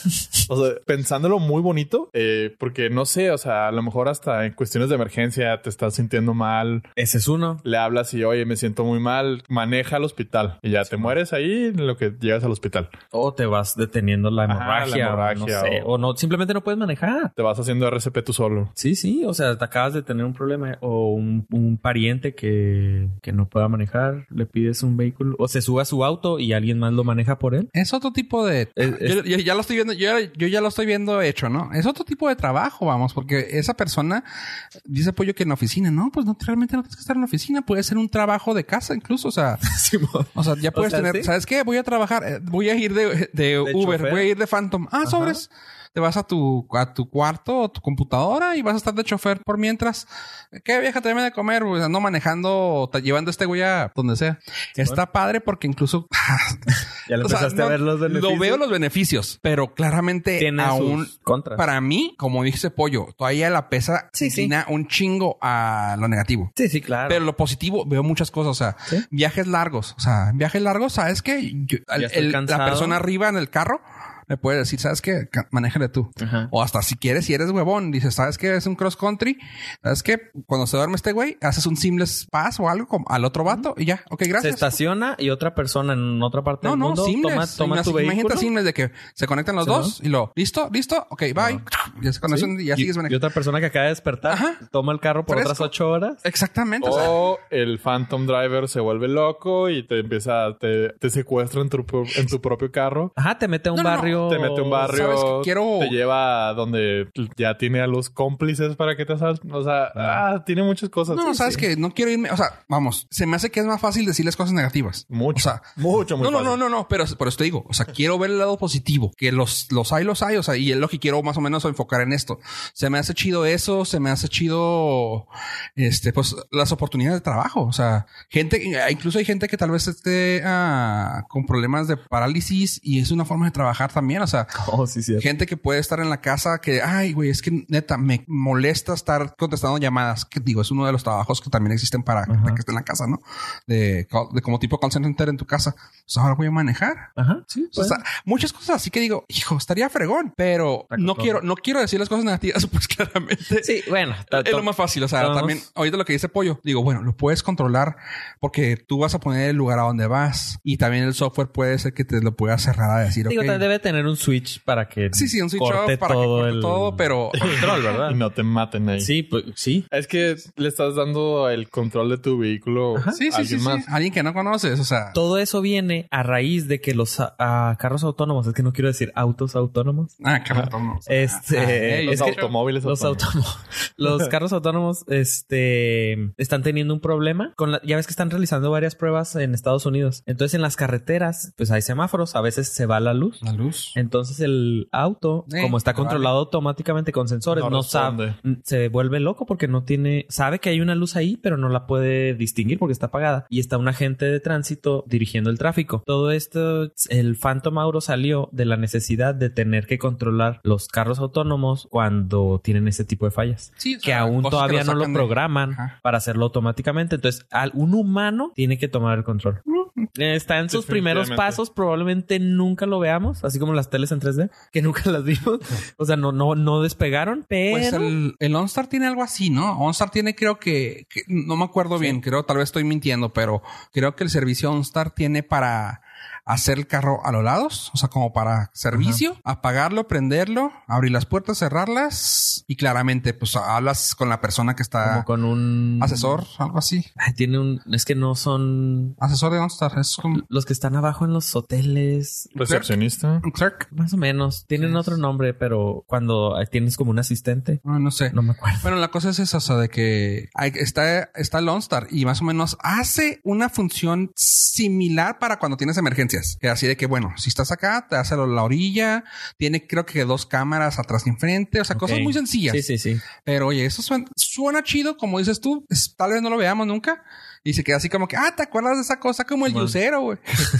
Speaker 3: O sea, pensándolo muy bonito, eh, porque no sé, o sea, a lo mejor hasta en cuestiones de emergencia te estás sintiendo mal,
Speaker 1: Ese es uno.
Speaker 3: le hablas y oye, me siento muy mal, maneja al hospital y ya te mueres ahí en lo que llegas al hospital.
Speaker 1: O te vas deteniendo Ah, la
Speaker 3: Ajá,
Speaker 1: hemorragia.
Speaker 3: la hemorragia,
Speaker 1: o no sé.
Speaker 3: o-
Speaker 1: O no, simplemente no puedes manejar.
Speaker 3: Te vas haciendo RCP tú solo.
Speaker 1: Sí, sí. O sea, te acabas de tener un problema o un, un pariente que, que no pueda manejar. Le pides un vehículo o se sube a su auto y alguien más lo maneja por él. (laughs)
Speaker 2: Es otro tipo de... Ah,
Speaker 1: Es- Eh, es-
Speaker 2: Yo, yo ya lo estoy viendo, yo, yo ya lo estoy viendo hecho, ¿no? Es otro tipo de trabajo, vamos, porque esa persona dice apoyo que en la oficina, no, pues no, realmente no tienes que estar en la oficina, puede ser un trabajo de casa incluso, o sea,
Speaker 1: Simón.
Speaker 2: o
Speaker 1: (laughs)
Speaker 2: sea, ya puedes
Speaker 1: sea,
Speaker 2: tener,
Speaker 1: sí.
Speaker 2: ¿sabes qué? Voy a trabajar, eh, voy a ir de, de Uber,
Speaker 1: chofer.
Speaker 2: voy a ir de Phantom, ah, sobres. Te vas a tu, a tu cuarto o tu computadora y vas a estar de chofer por mientras. ¿Qué vieja te de comer? O sea, no manejando, te- llevando a este güey a donde sea. Está padre porque incluso (laughs) ah,
Speaker 1: Ya le
Speaker 2: o sea,
Speaker 1: empezaste a
Speaker 2: no-
Speaker 1: ver los beneficios.
Speaker 2: Lo veo los beneficios, pero claramente
Speaker 1: Tiene
Speaker 2: aún
Speaker 1: sus contras.
Speaker 2: para mí, como dice Pollo, todavía la pesa
Speaker 1: Sí, sí.
Speaker 2: inclina un chingo a lo negativo.
Speaker 1: Sí, sí, claro.
Speaker 2: Pero lo positivo, veo muchas cosas. O sea,
Speaker 1: Sí.
Speaker 2: viajes largos. O sea, viajes largos, ¿sabes qué? Yo- el-
Speaker 1: estoy
Speaker 2: el-
Speaker 1: cansado.
Speaker 2: la persona arriba en el carro me puede decir, ¿sabes qué? Ca- Manéjale tú.
Speaker 1: Ajá.
Speaker 2: O hasta si quieres, si eres huevón, dices, ¿sabes qué? Es un cross country. ¿Sabes qué? Cuando se duerme este güey, haces un seamless pass o algo como al otro vato y ya. Ok,
Speaker 1: se
Speaker 2: gracias.
Speaker 1: estaciona y otra persona en otra parte
Speaker 2: No,
Speaker 1: del
Speaker 2: no,
Speaker 1: mundo
Speaker 2: simples.
Speaker 1: toma, toma
Speaker 2: Imagínate-
Speaker 1: tu vehículo.
Speaker 2: Imagínate simples de que se conectan los
Speaker 1: Sí,
Speaker 2: dos y lo, listo, listo, ok, bye. Ya se conocen y ya
Speaker 1: Ah. y,
Speaker 2: sigues
Speaker 1: y
Speaker 2: manejando.
Speaker 1: otra persona que acaba de despertar
Speaker 2: Ajá.
Speaker 1: toma el carro por
Speaker 2: Fresco.
Speaker 1: otras ocho horas.
Speaker 2: Exactamente. o sea,
Speaker 3: O el Phantom Driver se vuelve loco y te empieza, te, te secuestra en tu, pro- en tu propio carro.
Speaker 1: Ajá, te mete a un
Speaker 2: No, no, no.
Speaker 1: barrio.
Speaker 3: Te mete a
Speaker 2: ¿sabes
Speaker 3: un barrio,
Speaker 2: qué? Quiero-
Speaker 3: te lleva a donde ya tiene a los cómplices para que te asalten. O sea, ah, tiene muchas
Speaker 1: Oh,
Speaker 3: cosas.
Speaker 2: no,
Speaker 3: Sí,
Speaker 2: sabes
Speaker 3: sí.
Speaker 2: que no quiero irme. O sea, vamos, se me hace que es más fácil decirles cosas negativas.
Speaker 3: Mucho,
Speaker 2: O sea,
Speaker 3: mucho, muy
Speaker 2: no, no,
Speaker 3: fácil.
Speaker 2: no, no, no, pero por eso te digo, o
Speaker 3: (laughs)
Speaker 2: sea, quiero ver el lado positivo, que los, los hay, los hay, o sea, y es lo que quiero más o menos enfocar en esto. Se me hace chido eso, se me hace chido, este, pues, las oportunidades de trabajo, o sea, gente, incluso hay gente que tal vez esté ah, con problemas de parálisis y es una forma de trabajar también. O sea,
Speaker 3: Oh, sí, cierto.
Speaker 2: gente que puede estar en la casa que, ay, güey, es que neta, me molesta estar contestando llamadas. Que digo, es uno de los trabajos que también existen para que esté en la casa, ¿no? De, call- de como tipo call center en tu casa. Pues ahora voy a manejar.
Speaker 1: Ajá, Pues, sí.
Speaker 2: O sea, muchas cosas así que digo, hijo, estaría fregón, pero
Speaker 1: Está
Speaker 2: no
Speaker 1: cotorro.
Speaker 2: quiero, no quiero decir las cosas negativas, (laughs) pues claramente.
Speaker 1: sí, bueno. ta-
Speaker 2: Es lo más fácil, o sea,
Speaker 1: Estamos-
Speaker 2: también ahorita lo que dice Pollo, digo, bueno, lo puedes controlar porque tú vas a poner el lugar a donde vas y también el software puede ser que te lo pueda cerrar a decir,
Speaker 1: Digo,
Speaker 2: ok.
Speaker 1: ta- debe tener un switch para que
Speaker 2: Sí, sí, un switch
Speaker 1: corte
Speaker 2: off para que corte todo, pero
Speaker 1: control, ¿verdad?
Speaker 3: Y no te maten ahí.
Speaker 1: Sí, pues, sí.
Speaker 3: Es que le estás dando el control de tu vehículo
Speaker 2: sí,
Speaker 3: a
Speaker 2: sí, sí,
Speaker 3: alguien
Speaker 2: sí.
Speaker 3: más.
Speaker 2: alguien que no conoces, o sea,
Speaker 1: Todo eso viene a raíz de que los ah, ah, carros autónomos, es que no quiero decir autos autónomos.
Speaker 2: ah, cabrón, no.
Speaker 1: Este,
Speaker 2: Ah, eh,
Speaker 3: Los
Speaker 1: es que-
Speaker 3: automóviles
Speaker 1: los
Speaker 3: autónomos.
Speaker 1: autónomos- (laughs) los carros autónomos, este, están teniendo un problema con la- ya ves que están realizando varias pruebas en Estados Unidos. Entonces en las carreteras, pues hay semáforos, a veces se va la luz.
Speaker 2: la luz.
Speaker 1: Entonces el auto,
Speaker 2: Eh,
Speaker 1: como está
Speaker 2: vale.
Speaker 1: controlado automáticamente con sensores,
Speaker 3: No
Speaker 1: no,
Speaker 3: responde.
Speaker 1: sabe, mm, se vuelve loco porque no tiene, sabe que hay una luz ahí, pero no la puede distinguir porque está apagada y está un agente de tránsito dirigiendo el tráfico. Todo esto, el Phantom Auro salió de la necesidad de tener que controlar los carros autónomos cuando tienen ese tipo de fallas.
Speaker 2: Sí, o
Speaker 1: Que
Speaker 2: sea,
Speaker 1: aún
Speaker 2: cosas
Speaker 1: todavía no lo
Speaker 2: sacan de-
Speaker 1: programan
Speaker 2: Ajá.
Speaker 1: para hacerlo automáticamente. Entonces, al- un humano tiene que tomar el control.
Speaker 2: Mm.
Speaker 1: Está en sus primeros
Speaker 3: Definitivamente.
Speaker 1: pasos, probablemente nunca lo veamos, así como las teles en 3D, que nunca las vimos. O sea, no, no, no despegaron, pero
Speaker 2: Pues el, el OnStar tiene algo así, ¿no? OnStar tiene, creo que, que- no me acuerdo bien, creo, tal vez estoy mintiendo, pero creo que el servicio OnStar tiene para hacer el carro a los lados, o sea, como para servicio, apagarlo, prenderlo, abrir las puertas, cerrarlas y claramente, pues hablas con la persona que
Speaker 1: como
Speaker 2: está
Speaker 1: con un
Speaker 2: asesor, algo así.
Speaker 1: Ay, tiene un, es que no son
Speaker 2: Asesor de OnStar, es un
Speaker 1: los que están abajo en los hoteles.
Speaker 3: Recepcionista.
Speaker 2: un clerk,
Speaker 1: Más o menos, tienen
Speaker 2: Sí.
Speaker 1: otro nombre, pero cuando tienes como un asistente,
Speaker 2: Ah, no, no sé.
Speaker 1: no me acuerdo.
Speaker 2: Bueno, la cosa es esa, o sea, de que hay- está, está el OnStar y más o menos hace una función similar para cuando tienes emergencias. Que Así de que, bueno, si estás acá, te hace lo- la orilla, tiene creo que dos cámaras atrás y enfrente, o sea, cosas
Speaker 1: Ok.
Speaker 2: muy sencillas.
Speaker 1: Sí, sí, sí.
Speaker 2: Pero oye, eso suena, suena chido, como dices tú, es- tal vez no lo veamos nunca. Y se queda así como que, ah, ¿te acuerdas de esa cosa? Como el
Speaker 1: Bueno.
Speaker 2: yusero, güey. (laughs)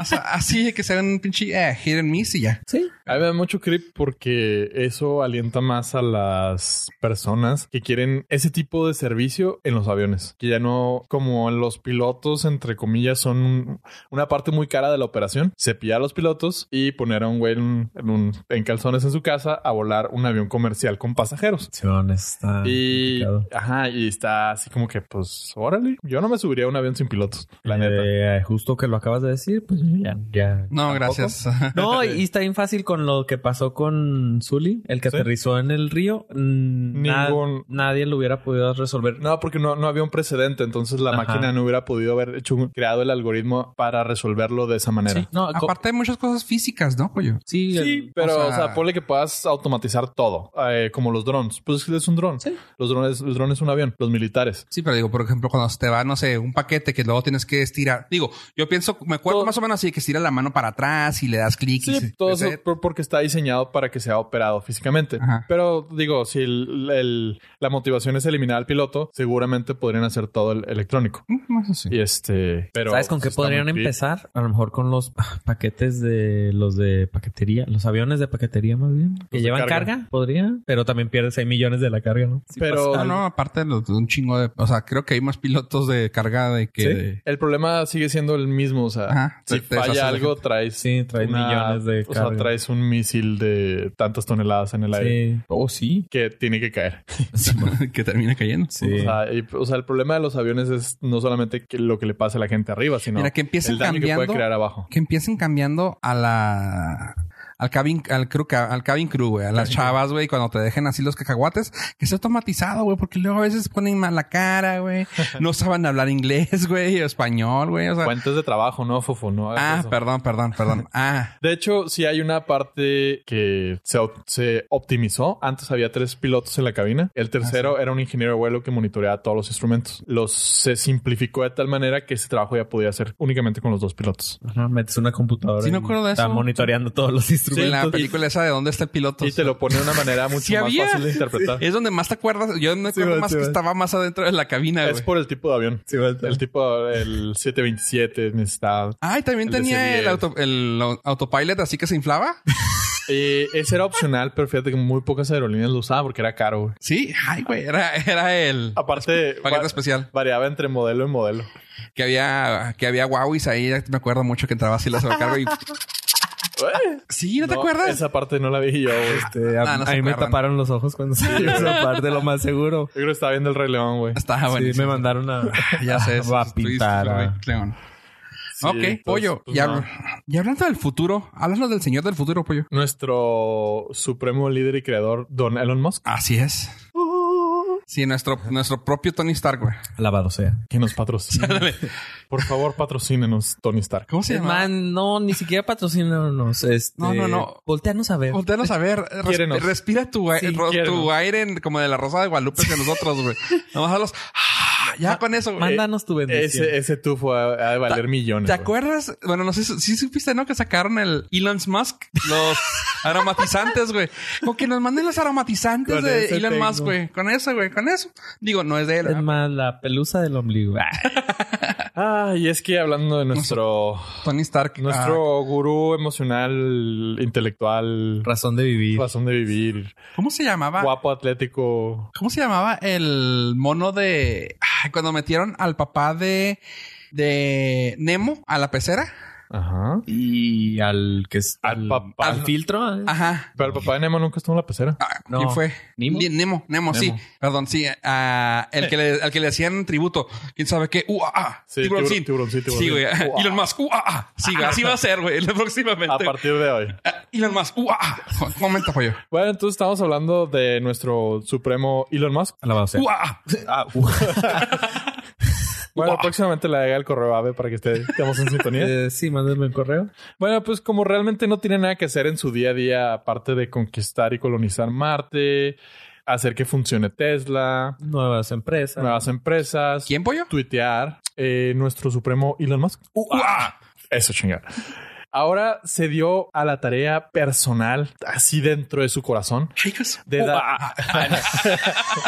Speaker 2: o sea, así de que sea un pinche eh, hit and miss y ya.
Speaker 1: Sí.
Speaker 3: A mí me da mucho creep porque eso alienta más a las personas que quieren ese tipo de servicio en los aviones. Que ya no, como los pilotos, entre comillas, son un- una parte muy cara de la operación. Cepillar a los pilotos y poner a un güey en, un- en un- en calzones en su casa a volar un avión comercial con pasajeros.
Speaker 1: Simón, está
Speaker 3: Y,
Speaker 1: Ah, complicado.
Speaker 3: ajá, y está así como que, pues, órale, yo no me subiría a un avión sin pilotos, la neta.
Speaker 1: Eh, justo que lo acabas de decir, pues ya,
Speaker 2: (laughs)
Speaker 1: ya
Speaker 2: No, gracias.
Speaker 1: No, y está bien fácil con lo que pasó con Zully, el que
Speaker 3: Sí.
Speaker 1: aterrizó en el río. Mm, na-
Speaker 3: Ningún-
Speaker 1: nadie lo hubiera podido resolver.
Speaker 3: No, porque no, no había un precedente, entonces la
Speaker 1: Ajá.
Speaker 3: máquina no hubiera podido haber hecho un- creado el algoritmo para resolverlo de esa manera.
Speaker 1: Sí,
Speaker 3: Sí.
Speaker 1: no, co-
Speaker 2: Aparte hay muchas cosas físicas, ¿no, pollo?
Speaker 1: Ah, sí, el-
Speaker 3: pero,
Speaker 2: o
Speaker 3: o
Speaker 2: sea-
Speaker 3: sea, ponle que puedas automatizar todo, eh, como los drones. Pues es un dron.
Speaker 1: Sí.
Speaker 3: Los drones, el dron es un avión, los militares.
Speaker 2: Sí, pero digo, por ejemplo, cuando se te va, no sé, un paquete que luego tienes que estirar. Digo, yo pienso, me acuerdo
Speaker 3: Todo-
Speaker 2: más o menos así, que estira la mano para atrás y le das clic. y
Speaker 3: Sí,
Speaker 2: se-
Speaker 3: todo
Speaker 2: se-
Speaker 3: eso por- porque está diseñado para que sea operado físicamente.
Speaker 2: Ajá.
Speaker 3: Pero digo, si el- el- la motivación es eliminar al piloto, seguramente podrían hacer todo el electrónico.
Speaker 2: Mm, eso sí.
Speaker 3: Y este, pero
Speaker 1: ¿Sabes con qué
Speaker 3: está
Speaker 1: podrían
Speaker 3: muy creepy.
Speaker 1: empezar? A lo mejor con los ah, paquetes de los de paquetería, los aviones de paquetería más bien, que
Speaker 3: de
Speaker 1: llevan
Speaker 3: carga.
Speaker 1: carga. podría, pero también pierdes 6 millones de la carga, ¿no? Sí pues,
Speaker 3: Pero-
Speaker 1: pasa
Speaker 2: No, Ah,
Speaker 1: algo.
Speaker 2: no, aparte de, los- de un chingo de... O sea, creo que hay más pilotos de carga de que...
Speaker 3: Sí.
Speaker 2: de-
Speaker 3: El problema sigue siendo el mismo. O sea,
Speaker 2: Ajá.
Speaker 3: si
Speaker 2: Te- te deshaces
Speaker 3: falla
Speaker 2: de
Speaker 3: algo, traes.
Speaker 1: Sí, traes millones de
Speaker 3: O sea,
Speaker 1: carga.
Speaker 3: traes un misil de tantas toneladas en el aire
Speaker 1: Sí. Oh, sí.
Speaker 3: que tiene que caer.
Speaker 2: (laughs) que termina cayendo.
Speaker 1: Sí.
Speaker 3: O, sea, y- o sea, el problema de los aviones es no solamente que lo que le pasa a la gente arriba, sino
Speaker 2: Mira, que empiecen
Speaker 3: el daño que
Speaker 2: cambiando-
Speaker 3: puede crear abajo.
Speaker 2: Que empiecen cambiando a la... Al cabin, al crew, ca- al cabin crew, güey. A las chavas, güey. Cuando te dejen así los cacahuates. Que sea automatizado, güey. Porque luego a veces ponen mala cara,
Speaker 3: (laughs)
Speaker 2: güey. No saben hablar inglés, güey. O español, güey. O sea...
Speaker 3: Fuentes de trabajo, ¿no, Fofo? No hagas
Speaker 2: Ah,
Speaker 3: eso.
Speaker 2: perdón, perdón,
Speaker 3: (laughs)
Speaker 2: perdón. Ah,
Speaker 3: De hecho, sí hay una parte que se, op- se optimizó. Antes había tres pilotos en la cabina. El tercero
Speaker 2: Ah,
Speaker 3: era un ingeniero de vuelo que monitoreaba todos los instrumentos. Los se simplificó de tal manera que ese trabajo ya podía hacer únicamente con los dos pilotos.
Speaker 1: Ajá, metes una computadora.
Speaker 2: Sí, me
Speaker 1: y
Speaker 2: acuerdo de
Speaker 1: Está
Speaker 2: eso.
Speaker 1: monitoreando todos los
Speaker 2: distribuyen
Speaker 3: Sí,
Speaker 2: la
Speaker 3: entonces-
Speaker 2: película esa de dónde está el piloto.
Speaker 3: Y te lo pone de una
Speaker 2: (laughs)
Speaker 3: manera mucho
Speaker 2: Sí
Speaker 3: más
Speaker 2: había.
Speaker 3: fácil de interpretar.
Speaker 2: Es donde más te acuerdas. Yo me
Speaker 3: Sí,
Speaker 2: acuerdo
Speaker 3: va,
Speaker 2: más
Speaker 3: sí,
Speaker 2: que
Speaker 3: va.
Speaker 2: estaba más adentro de la cabina,
Speaker 3: Es
Speaker 2: Ah, güey.
Speaker 3: por el tipo de avión. el tipo, el 727 necesitaba.
Speaker 2: Ah, y también
Speaker 3: el de
Speaker 2: tenía el,
Speaker 3: C10.
Speaker 2: auto- el au- autopilot, así que se inflaba.
Speaker 3: Eh, ese era opcional, pero fíjate que muy pocas aerolíneas lo usaban porque era caro. güey.
Speaker 2: Sí, ay, güey, era, era el
Speaker 3: Ah, Aparte,
Speaker 2: paquete
Speaker 3: va-
Speaker 2: especial.
Speaker 3: variaba entre modelo y modelo.
Speaker 2: Que había, que había Huawei's ahí, me acuerdo mucho que entraba así la sobrecarga y...
Speaker 3: Eh,
Speaker 2: Sí, ¿no, te acuerdas?
Speaker 3: Esa parte no la vi yo. güey.
Speaker 4: Este, a,
Speaker 2: Ah, no se
Speaker 4: a mí me
Speaker 2: acuerdan.
Speaker 4: taparon los ojos cuando se
Speaker 2: (laughs)
Speaker 4: hizo esa parte, lo más seguro.
Speaker 3: Yo creo que estaba viendo el Rey León, güey.
Speaker 2: Estaba
Speaker 4: sí,
Speaker 2: Ah, bueno.
Speaker 4: me mandaron a...
Speaker 2: Ya sé.
Speaker 4: Va a
Speaker 2: estoy-
Speaker 4: pintar,
Speaker 2: estoy-
Speaker 4: ah.
Speaker 2: León.
Speaker 3: Sí,
Speaker 2: ok,
Speaker 3: entonces,
Speaker 2: pollo.
Speaker 3: pues,
Speaker 2: y,
Speaker 3: no.
Speaker 2: habl- y hablando del futuro, háblanos del señor del futuro, pollo.
Speaker 3: Nuestro supremo líder y creador, Don Elon Musk,
Speaker 2: Así es. Sí, nuestro, nuestro propio Tony Stark, güey.
Speaker 1: Lavado sea.
Speaker 3: que nos
Speaker 2: (laughs)
Speaker 3: patrocina. Por favor, patrocínenos, Tony Stark.
Speaker 2: ¿Cómo se llama?
Speaker 1: Man, no, ni siquiera patrocínanos. Este,
Speaker 2: No, no, no.
Speaker 1: Volteanos a ver.
Speaker 2: Volteanos a ver. Res-
Speaker 3: Quiérenos.
Speaker 2: respira tu, ai-
Speaker 3: Sí,
Speaker 2: ro- tu
Speaker 3: quiérenos.
Speaker 2: aire en- como de la rosa de Guadalupe que nosotros,
Speaker 3: (laughs)
Speaker 2: güey. Nomás a los... ah, ya con eso, güey.
Speaker 1: Mándanos tu bendición.
Speaker 3: Ese, ese tufo ha, ha de valer millones.
Speaker 2: Ah, ¿Te
Speaker 3: güey.
Speaker 2: acuerdas? Bueno, no sé si si supiste, ¿no? Que sacaron el Elon Musk,
Speaker 3: (laughs)
Speaker 2: los aromatizantes, güey. Como que nos manden los aromatizantes
Speaker 3: Con
Speaker 2: de
Speaker 3: ese
Speaker 2: Elon
Speaker 3: tengo.
Speaker 2: Musk, güey. Con eso, güey, con eso. Digo, no es de él.
Speaker 1: Es
Speaker 2: ¿verdad?
Speaker 1: más, la pelusa del ombligo. Ah, (laughs)
Speaker 3: Ah, y es que hablando de nuestro,
Speaker 2: Tony Stark. Ah,
Speaker 3: nuestro gurú emocional, intelectual,
Speaker 1: razón de vivir.
Speaker 3: razón de vivir,
Speaker 2: ah, ¿Cómo se llamaba?
Speaker 3: guapo, atlético.
Speaker 2: ¿Cómo se llamaba el mono de. Ay, cuando metieron al papá de. de Nemo a la pecera?
Speaker 3: Ajá.
Speaker 1: Y al que es
Speaker 3: Al papá.
Speaker 1: al filtro. eh.
Speaker 2: Ajá.
Speaker 3: Pero el papá de Nemo nunca estuvo en la pecera.
Speaker 2: Ah,
Speaker 1: No.
Speaker 2: ¿Quién fue?
Speaker 1: ¿Nemo?
Speaker 2: Ni- Nemo, Nemo, sí.
Speaker 1: Nemo.
Speaker 2: Perdón, sí. ah, el que le, al que le hacían tributo. ¿Quién sabe qué? Uh, ah, ah,
Speaker 3: Sí,
Speaker 2: tiburón,
Speaker 3: tiburón,
Speaker 2: sí.
Speaker 3: tiburón, sí, tiburón,
Speaker 2: Sí, güey.
Speaker 3: sí. Uh, ah.
Speaker 2: Elon Musk. Uh, ah, ah. Sí, güey, así va a ser, güey. (laughs) Próximamente.
Speaker 3: A partir de hoy.
Speaker 2: Ah, Elon Musk. Uh, ah, ah. Un momento, pollo.
Speaker 3: Bueno, entonces estamos hablando de nuestro supremo Elon Musk.
Speaker 1: Alabado (laughs) sea.
Speaker 2: Uh, ah, ah.
Speaker 1: Ah, uh.
Speaker 3: Bueno, próximamente le haga el correo AVE para que esté- estemos
Speaker 2: (laughs)
Speaker 3: en sintonía.
Speaker 1: (laughs) Eh, sí, mándenme un correo.
Speaker 3: Bueno, pues como realmente no tiene nada que hacer en su día a día, aparte de conquistar y colonizar Marte, hacer que funcione Tesla,
Speaker 1: Nuevas empresas.
Speaker 3: nuevas empresas.
Speaker 2: ¿Quién, pollo?
Speaker 3: tuitear eh, nuestro supremo Elon Musk.
Speaker 2: Uh, ah.
Speaker 3: Eso chingar. Ahora se dio a la tarea personal, así dentro de su corazón,
Speaker 2: Ay, qué su-
Speaker 3: de,
Speaker 2: Uh,
Speaker 3: dar- (laughs)
Speaker 2: ah, ah.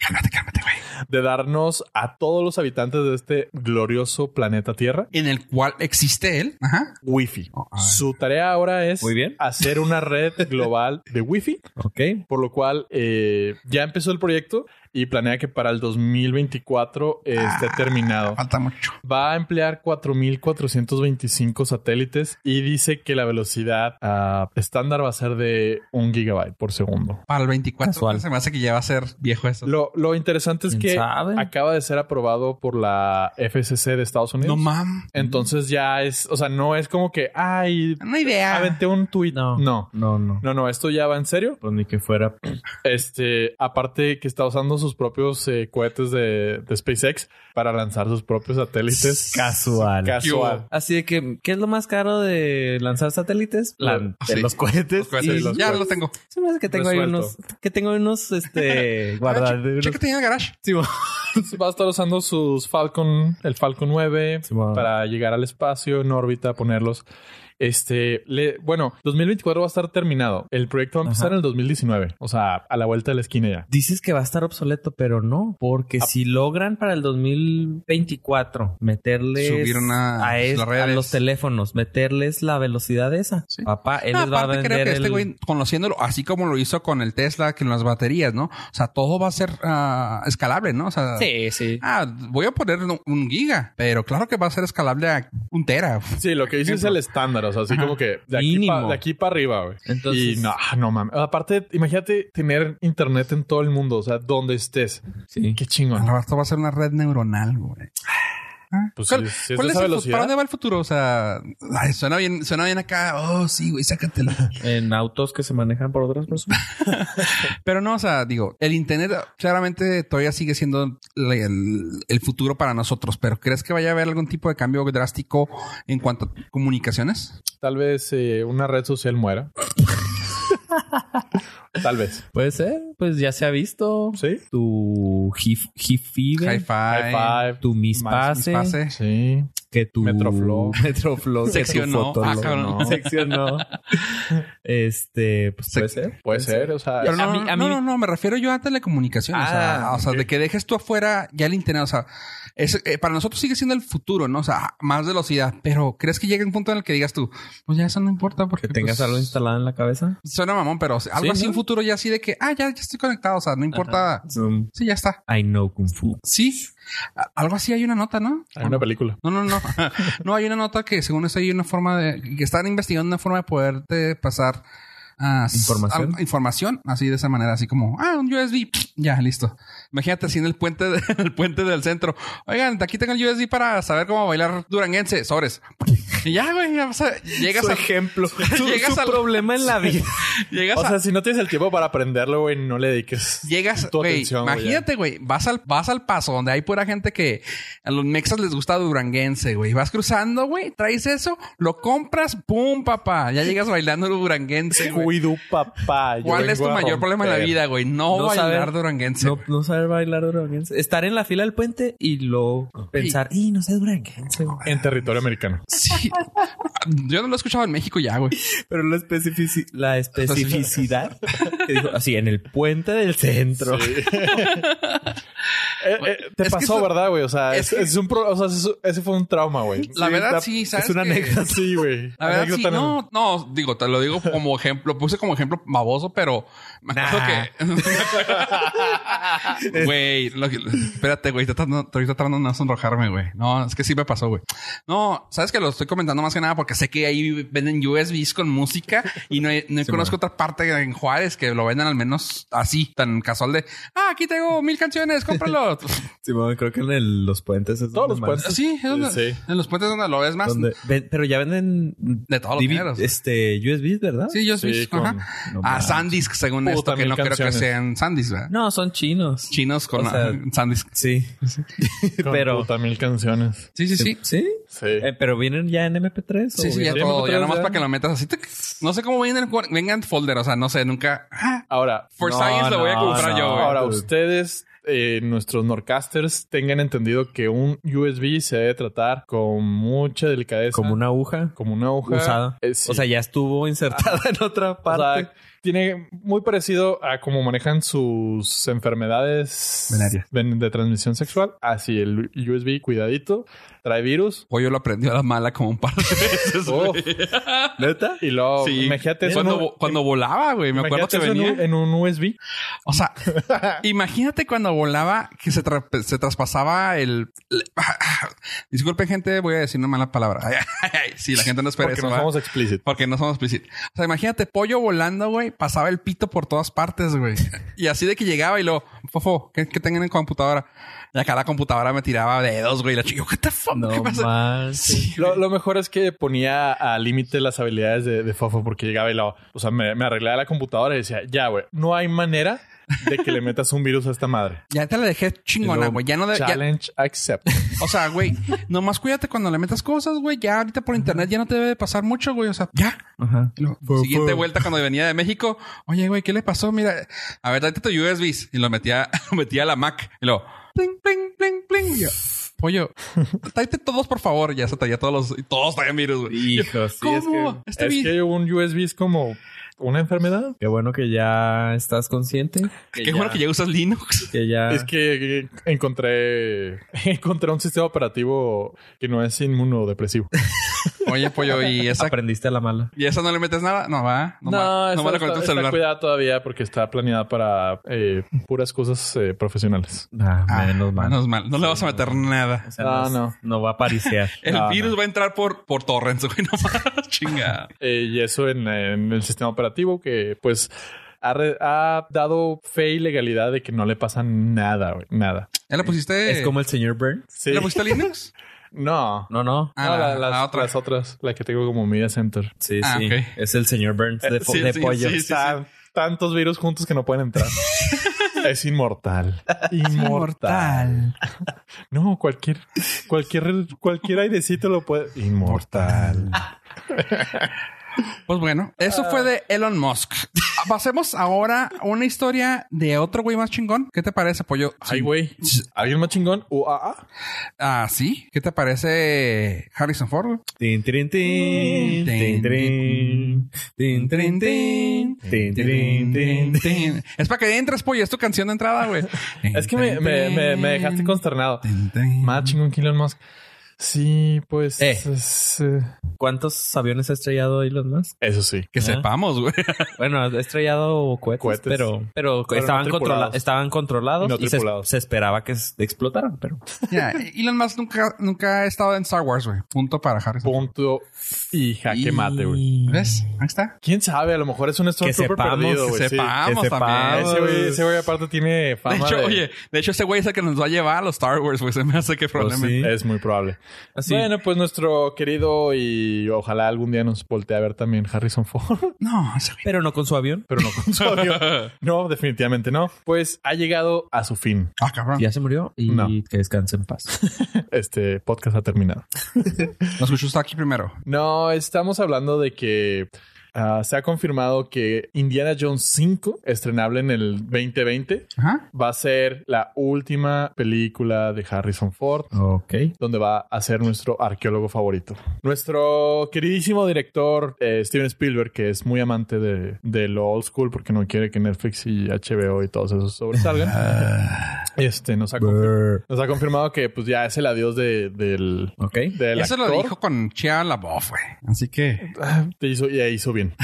Speaker 2: Cálmate, cálmate, güey.
Speaker 3: de darnos a todos los habitantes de este glorioso planeta Tierra
Speaker 2: en el cual existe él. Ajá.
Speaker 3: Wi-Fi. Su tarea ahora es
Speaker 1: Oh, Muy bien.
Speaker 3: hacer
Speaker 1: (laughs)
Speaker 3: una red global de Wi-Fi,
Speaker 1: Ok.
Speaker 3: por lo cual eh, ya empezó el proyecto y planea que para el 2024 eh,
Speaker 1: Ah.
Speaker 3: esté terminado.
Speaker 2: Falta mucho.
Speaker 3: Va a emplear 4.425 satélites y dice que la velocidad ah, estándar va a ser de un gigabyte por segundo.
Speaker 2: Para el 24
Speaker 1: Casual.
Speaker 2: se me hace que ya va a ser viejo eso.
Speaker 3: Lo, lo interesante es
Speaker 1: ¿Quién
Speaker 3: que
Speaker 1: sabe?
Speaker 3: acaba de ser aprobado por la FCC de Estados Unidos.
Speaker 2: no mam.
Speaker 3: Entonces ya es, o sea, no es como que, ay,
Speaker 2: Una idea.
Speaker 3: aventé un tuit.
Speaker 1: Ah. No.
Speaker 3: no.
Speaker 1: No, no.
Speaker 3: No, no, esto ya va en serio.
Speaker 1: Pues ni que fuera.
Speaker 3: Este, aparte que está usando sus propios eh, cohetes de, de SpaceX para lanzar sus propios satélites.
Speaker 1: (laughs) Casual.
Speaker 3: Casual.
Speaker 1: Así de que, ¿qué es lo más caro de lanzar satélites? La-
Speaker 2: Sí.
Speaker 1: de Los cohetes.
Speaker 2: Los cohetes,
Speaker 1: y-
Speaker 3: los-
Speaker 2: ya
Speaker 3: cuerpos.
Speaker 2: lo tengo.
Speaker 1: Se me hace que tengo ahí
Speaker 3: Resuelto.
Speaker 1: unos, que tengo ahí unos, este,
Speaker 2: Ah,
Speaker 1: guardados.
Speaker 2: che- Chécate en el garage.
Speaker 3: Va a estar usando sus Falcon, el Falcon 9
Speaker 1: Simón.
Speaker 3: para llegar al espacio en órbita, ponerlos. Este, le- bueno, 2024 va a estar terminado. El proyecto va a empezar
Speaker 1: Ajá.
Speaker 3: en el 2019, o sea, a la vuelta de la esquina ya.
Speaker 1: Dices que va a estar obsoleto, pero no, porque
Speaker 3: Ah.
Speaker 1: si logran para el 2024 meterles
Speaker 2: Subir una-
Speaker 1: a, es-
Speaker 2: las
Speaker 1: a
Speaker 2: redes.
Speaker 1: los teléfonos, meterles la velocidad esa,
Speaker 2: Sí.
Speaker 1: papá, él
Speaker 2: No,
Speaker 1: les va a
Speaker 2: Ah, aparte
Speaker 1: vender
Speaker 2: creo que este
Speaker 1: el-
Speaker 2: güey, conociéndolo, así como lo hizo con el Tesla, que en las baterías, ¿no? O sea, todo va a ser ah, escalable, ¿no? O sea,
Speaker 1: Sí, sí.
Speaker 2: ah, voy a poner un- un giga, pero claro que va a ser escalable a un tera.
Speaker 3: Sí, lo que dice es el estándar, o sea, así como que de aquí,
Speaker 1: Mínimo.
Speaker 3: pa- de aquí para arriba, güey.
Speaker 1: Entonces-
Speaker 3: y no, ah, no mames. Aparte, imagínate tener internet en todo el mundo, o sea, donde estés.
Speaker 1: sí.
Speaker 3: Qué chingón.
Speaker 2: Al rato va a ser una red neuronal, güey. Ah,
Speaker 3: Pues
Speaker 2: ¿Cuál,
Speaker 3: sí, si es
Speaker 2: cuál
Speaker 3: de
Speaker 2: es
Speaker 3: esa
Speaker 2: el fu-
Speaker 3: velocidad.
Speaker 2: ¿Para dónde va el futuro? O sea, ay, suena bien, suena bien acá. Oh, sí, güey,
Speaker 3: (laughs)
Speaker 2: sácatelo.
Speaker 1: En autos que se manejan por otras personas.
Speaker 2: Pero no, o sea, digo, el internet claramente todavía sigue siendo el, el- el futuro para nosotros, pero ¿crees que vaya a haber algún tipo de cambio drástico en cuanto a comunicaciones?
Speaker 3: Tal vez eh, una red
Speaker 2: (laughs)
Speaker 3: social muera. Tal vez.
Speaker 1: (laughs) Puede ser, pues ya se ha visto.
Speaker 3: Sí.
Speaker 1: Tu Hif- Hifibe,
Speaker 2: Hi-Fi,
Speaker 3: High five.
Speaker 1: tu
Speaker 3: Más-
Speaker 1: Mispase.
Speaker 2: Pase.
Speaker 3: Sí.
Speaker 4: que tu
Speaker 1: (laughs)
Speaker 3: Metroflow.
Speaker 4: Metroflow que tu
Speaker 2: Seccionó.
Speaker 4: Fotolog,
Speaker 2: Ah, cabrón.
Speaker 4: ¿no? seccionó.
Speaker 1: Este, pues puede
Speaker 4: Sec-
Speaker 1: ser.
Speaker 3: Puede ser, o sea,
Speaker 2: Pero
Speaker 1: A
Speaker 2: no,
Speaker 1: mí- a
Speaker 2: no,
Speaker 1: mí-
Speaker 2: no, no, me refiero yo a telecomunicaciones. o sea,
Speaker 3: Ah,
Speaker 2: o sea,
Speaker 3: ok.
Speaker 2: de que dejes tú afuera ya el internet. O sea, es, eh, para nosotros sigue siendo el futuro, ¿no? O sea, más velocidad. Pero ¿crees que llega un punto en el que digas tú, pues ya eso no importa porque
Speaker 1: Que tengas
Speaker 2: pues,
Speaker 1: algo instalado en la cabeza.
Speaker 2: Suena mamón, pero algo
Speaker 1: Sí,
Speaker 2: así
Speaker 1: ¿no?
Speaker 2: un futuro ya así de que, ah, ya, ya estoy conectado. O sea, no importa.
Speaker 1: Zoom.
Speaker 2: Sí, ya está.
Speaker 1: I know Kung Fu.
Speaker 2: Sí. A- Algo así hay una nota, ¿no?
Speaker 3: hay una película.
Speaker 2: No, no,
Speaker 3: (laughs)
Speaker 2: no. No, hay una nota que según eso hay una forma de... que están investigando una forma de poderte pasar... ah, s-
Speaker 1: ¿Información?
Speaker 2: ah, información, así de esa manera, así como, ah, un USB, ya, listo. Imagínate así en el puente, de- (laughs) en el puente del centro. Oigan, aquí tengo el USB para saber cómo bailar duranguense, sobres. Y ya, güey, ya vas a- llegas
Speaker 3: Su
Speaker 2: a...
Speaker 3: ejemplo.
Speaker 2: (laughs)
Speaker 3: Su-
Speaker 2: Llegas
Speaker 3: su
Speaker 2: al-
Speaker 3: problema en la vida.
Speaker 2: Llegas
Speaker 3: O
Speaker 2: a-
Speaker 3: sea, si no tienes el tiempo para aprenderlo, güey, no le dediques.
Speaker 2: Llegas,
Speaker 3: tu
Speaker 2: güey,
Speaker 3: atención, güey,
Speaker 2: imagínate, güey, vas al, vas al paso donde hay pura gente que a los mexas les gusta duranguense, güey. Vas cruzando, güey, traes eso, lo compras, pum, papá. Ya llegas bailando duranguense, güey.
Speaker 3: Cuido, papá. yo
Speaker 2: ¿Cuál es tu
Speaker 3: vengo a
Speaker 2: mayor problema en la
Speaker 3: romper.
Speaker 2: vida, güey? No,
Speaker 1: No
Speaker 2: bailar
Speaker 1: saber-
Speaker 2: duranguense.
Speaker 1: (laughs) No, no saber bailar duranguense. Estar en la fila del puente y luego pensar, y no sé duranguense. güey".
Speaker 3: En territorio americano.
Speaker 2: (laughs) Sí. Yo no lo he escuchado en México ya, güey.
Speaker 1: Pero la, especifici- la especificidad. que dijo, así, en el puente del centro.
Speaker 3: Eh, eh, te
Speaker 2: Es que
Speaker 3: pasó,
Speaker 2: eso-
Speaker 3: ¿verdad, güey? O sea,
Speaker 2: es
Speaker 3: es,
Speaker 2: que-
Speaker 3: es un pro- o sea, eso- ese fue un trauma, güey.
Speaker 2: La verdad,
Speaker 3: está-
Speaker 2: sí, ¿sabes
Speaker 3: Es una
Speaker 2: qué?
Speaker 3: anécdota, sí, güey.
Speaker 2: La verdad, sí,
Speaker 3: Anécdota
Speaker 2: no, no, digo, te lo digo como ejemplo, puse como ejemplo baboso, pero me acuerdo que. (laughs) Güey, lo que- espérate, güey, estoy tratando, estoy tratando de no sonrojarme, güey. No, es que sí me pasó, güey. No, sabes que lo estoy comentando más que nada porque sé que ahí venden USBs con música y no, no conozco otra parte en Juárez que lo vendan al menos así, tan casual de, ah, aquí tengo mil canciones,
Speaker 3: (laughs)
Speaker 2: cómpralo.
Speaker 1: Sí, bueno, creo que en el- los puentes es
Speaker 3: Todos
Speaker 1: donde
Speaker 3: los
Speaker 1: más-
Speaker 3: puentes.
Speaker 2: sí, es donde-
Speaker 3: Sí.
Speaker 2: en los puentes donde lo ves más.
Speaker 1: donde- ven- pero ya venden
Speaker 2: Ah, De todos los
Speaker 1: DV
Speaker 2: géneros.
Speaker 1: Este, USBs, ¿verdad?
Speaker 2: Sí, USBs.
Speaker 3: Sí, con-
Speaker 2: ajá.
Speaker 1: No
Speaker 2: Ah,
Speaker 1: mames.
Speaker 2: Sandisk, según
Speaker 3: Puta,
Speaker 2: esto, que
Speaker 3: mil
Speaker 2: no creo que
Speaker 3: canciones.
Speaker 2: sean Sandisk, ¿verdad?
Speaker 1: No, son chinos.
Speaker 2: Chinos con
Speaker 1: O sea,
Speaker 2: ah, (laughs) Sandisk.
Speaker 1: Sí.
Speaker 3: Con
Speaker 1: pero.
Speaker 3: puta mil canciones.
Speaker 2: Sí, sí, sí.
Speaker 1: Sí.
Speaker 3: Sí.
Speaker 1: Eh, pero vienen ya en MP3.
Speaker 2: Sí,
Speaker 1: o
Speaker 2: sí, ya
Speaker 1: vienen-
Speaker 2: todo. Ya
Speaker 1: MP3
Speaker 2: nomás para que lo metas así. tic. No sé cómo vengan, vengan folder, o sea, no sé, nunca. Ah,
Speaker 3: Ahora, ah,
Speaker 2: For
Speaker 1: No,
Speaker 2: Science lo voy a
Speaker 1: no,
Speaker 2: comprar
Speaker 1: no.
Speaker 2: yo, güey.
Speaker 3: ahora ustedes, eh, nuestros Norcasters, tengan entendido que un USB se debe tratar con mucha delicadeza.
Speaker 1: Como una aguja
Speaker 3: como una hoja.
Speaker 1: usada.
Speaker 3: Eh, sí.
Speaker 1: O sea, ya estuvo (laughs) insertada en otra
Speaker 3: O
Speaker 1: parte.
Speaker 3: sea, tiene muy parecido a cómo manejan sus enfermedades
Speaker 2: Venéreas.
Speaker 3: ven- de transmisión sexual. Así el USB, cuidadito, trae
Speaker 2: (laughs)
Speaker 3: virus.
Speaker 2: Pollo lo aprendió a la mala como un par de
Speaker 3: (laughs)
Speaker 2: veces.
Speaker 3: Oh,
Speaker 2: güey.
Speaker 1: ¿Neta?
Speaker 3: y luego,
Speaker 2: Sí.
Speaker 3: Oh, imagínate eso,
Speaker 2: cuando,
Speaker 3: en un-
Speaker 2: vo- cuando volaba, güey, me acuerdo
Speaker 3: imagínate
Speaker 2: que
Speaker 3: eso en
Speaker 2: venía.
Speaker 3: un- en un USB.
Speaker 2: O sea, imagínate cuando volaba que se, tra- se traspasaba el. ah, Disculpen, gente, voy a decir una mala palabra. (laughs) sí, la gente no espera
Speaker 3: Porque
Speaker 2: eso.
Speaker 3: nos
Speaker 2: ¿verdad?
Speaker 3: vamos explícitos.
Speaker 2: Porque no somos explícitos. O sea, imagínate, pollo volando, güey, pasaba el pito por todas partes, güey. Y así de que llegaba y luego, fofo, ¿qué, qué tengan en computadora? Y acá la computadora me tiraba dedos, güey. y La chica, ¿qué te fuck? ¿Qué
Speaker 1: No
Speaker 2: pasa?
Speaker 1: más.
Speaker 2: Sí,
Speaker 3: Lo, lo mejor es que ponía al límite las habilidades de, de Fofo porque llegaba y lo, o sea, me, me arreglaba la computadora y decía, ya, güey, no hay manera de que le metas un virus a esta madre.
Speaker 2: Ya te la dejé chingona,
Speaker 3: Luego,
Speaker 2: güey. Ya no de, (laughs) ya-
Speaker 3: Challenge accept.
Speaker 2: O sea, güey, nomás cuídate cuando le metas cosas, güey. Ya ahorita por internet ya no te debe de pasar mucho, güey. O sea, ya.
Speaker 1: Ajá.
Speaker 2: Y luego, siguiente vuelta cuando venía de México. Oye, güey, ¿qué le pasó? Mira, a ver, date tu USB. Y lo metía, (laughs) lo metía a la Mac. Y luego, pling, pling, pling, pling. Y yo, pollo, tráete todos, por favor. Ya se traía todos los... y Todos traían virus, güey.
Speaker 1: Hijo, sí, es que-
Speaker 2: ¿Cómo? Este
Speaker 3: es
Speaker 2: vi-
Speaker 3: que un USB es como una enfermedad.
Speaker 1: Qué bueno que ya estás consciente. Que
Speaker 2: Qué
Speaker 1: ya-
Speaker 2: bueno que ya usas
Speaker 1: (laughs)
Speaker 2: Linux.
Speaker 1: que ya-
Speaker 3: Es que encontré (laughs) encontré un sistema operativo que no
Speaker 2: (laughs)
Speaker 3: es inmunodepresivo.
Speaker 2: Oye, pollo, ¿y esa,
Speaker 1: aprendiste a la mala.
Speaker 2: ¿y esa no le metes nada? No, va. No, va. No
Speaker 3: esta
Speaker 2: va a
Speaker 3: está-
Speaker 2: conectar el
Speaker 3: está
Speaker 2: celular.
Speaker 3: cuidada todavía porque está planeada para eh, puras cosas eh, profesionales.
Speaker 1: Ah,
Speaker 2: Ah,
Speaker 1: menos mal.
Speaker 2: menos mal. No le vas a meter nada.
Speaker 1: O sea,
Speaker 3: Ah,
Speaker 1: no,
Speaker 3: no.
Speaker 1: no va a apariciar.
Speaker 2: (laughs)
Speaker 1: Ah,
Speaker 2: El
Speaker 3: no,
Speaker 2: virus va a entrar por, por torrents, (laughs) güey. No más. Chingada.
Speaker 3: Eh, y eso en, en el sistema operativo que pues ha, re- ha dado fe y legalidad de que no le pasa nada, güey, nada.
Speaker 2: ¿Ya le pusiste?
Speaker 1: Es como el señor Burns.
Speaker 3: Sí.
Speaker 2: ¿Le pusiste
Speaker 3: (laughs)
Speaker 2: Linux?
Speaker 3: No.
Speaker 1: No, no.
Speaker 2: pues Ah,
Speaker 3: No,
Speaker 2: la,
Speaker 3: la- las,
Speaker 2: la otra.
Speaker 3: las otras, la que tengo como Media Center.
Speaker 1: Sí,
Speaker 2: Ah,
Speaker 1: sí.
Speaker 2: ok.
Speaker 1: Es el señor Burns de,
Speaker 2: (laughs)
Speaker 1: fo-
Speaker 2: Sí,
Speaker 1: de
Speaker 2: sí,
Speaker 1: pollo.
Speaker 2: sí, sí.
Speaker 3: Tan- tantos virus juntos que no pueden entrar. es inmortal. Inmortal. No, cualquier, cualquier, cualquier airecito lo puede. Inmortal.
Speaker 2: Pues bueno, eso fue de Elon Musk. Ah, Pasemos ahora a una historia de otro güey más chingón. ¿Qué te parece, pollo?
Speaker 3: Ay, güey. ¿Alguien más chingón? ¿UAA?
Speaker 2: Ah, sí. ¿Qué te parece Harrison Ford?
Speaker 4: Tin, trin, tin, tin, trin. Tin, trin, tin, tin, trin, tin.
Speaker 2: Es para que entres, pollo. Es tu canción de entrada, güey.
Speaker 3: (laughs) Es que me, me- me- me dejaste consternado. Más chingón que Elon Musk. Sí, pues.
Speaker 1: Eh.
Speaker 3: es, eh,
Speaker 1: ¿Cuántos aviones ha estrellado Elon Musk?
Speaker 3: Eso sí.
Speaker 2: Que
Speaker 1: Ah.
Speaker 2: sepamos,
Speaker 3: (laughs)
Speaker 2: güey.
Speaker 1: Bueno, ha estrellado cohetes,
Speaker 3: Cohetes.
Speaker 1: pero, pero,
Speaker 3: Pero no
Speaker 1: estaban,
Speaker 3: tripulados.
Speaker 1: controla- estaban controlados
Speaker 3: Y no
Speaker 1: y, se-
Speaker 3: tripulados.
Speaker 1: se, esperaba que s- explotaran, pero
Speaker 2: Ya, Elon Musk nunca, nunca ha estado en Star Wars, güey. Punto para Harrison.
Speaker 3: Punto y jaque
Speaker 2: Y-
Speaker 3: mate, güey.
Speaker 1: Mm.
Speaker 2: ¿Ves? Ahí está.
Speaker 3: ¿Quién sabe? A lo mejor es un Stormtrooper
Speaker 1: sepamos,
Speaker 3: perdido,
Speaker 1: que
Speaker 3: güey. sí.
Speaker 2: sepamos
Speaker 3: Que
Speaker 2: también.
Speaker 3: Ese güey, ese güey aparte tiene
Speaker 2: De
Speaker 3: fama
Speaker 2: hecho, oye, de hecho, ese güey es el que nos va a llevar a los Star Wars, güey. Se me hace que probablemente.
Speaker 3: Es muy probable.
Speaker 1: Así.
Speaker 3: Bueno, pues nuestro querido y ojalá algún día nos voltee a ver también Harrison Ford, (laughs)
Speaker 2: (laughs) No, ese güey.
Speaker 1: Pero no con su avión.
Speaker 3: pero no con
Speaker 2: (laughs)
Speaker 3: su avión. No, definitivamente no. Pues ha llegado a su fin.
Speaker 2: Ah, cabrón.
Speaker 1: Ya se murió y
Speaker 3: No.
Speaker 1: que descanse en paz. (laughs)
Speaker 3: Este podcast ha terminado.
Speaker 2: Lo escuchó usted aquí primero.
Speaker 3: No, estamos hablando de que ah, se ha confirmado que Indiana Jones 5, estrenable en el 2020,
Speaker 2: Ajá.
Speaker 3: va a ser la última película de Harrison Ford.
Speaker 1: ok.
Speaker 3: donde va a ser nuestro arqueólogo favorito. Nuestro queridísimo director eh, Steven Spielberg, que es muy amante de, de lo old school porque no quiere que Netflix y HBO y todos esos sobresalgan, este, nos, ha confir- nos ha confirmado que pues ya es el adiós de, del...
Speaker 1: Ok.
Speaker 3: del
Speaker 2: Eso lo
Speaker 3: actor.
Speaker 2: dijo Ah. con Chia LaBeouf, güey. Así que.
Speaker 3: Te hizo, y ahí
Speaker 2: (laughs)
Speaker 3: hizo bien.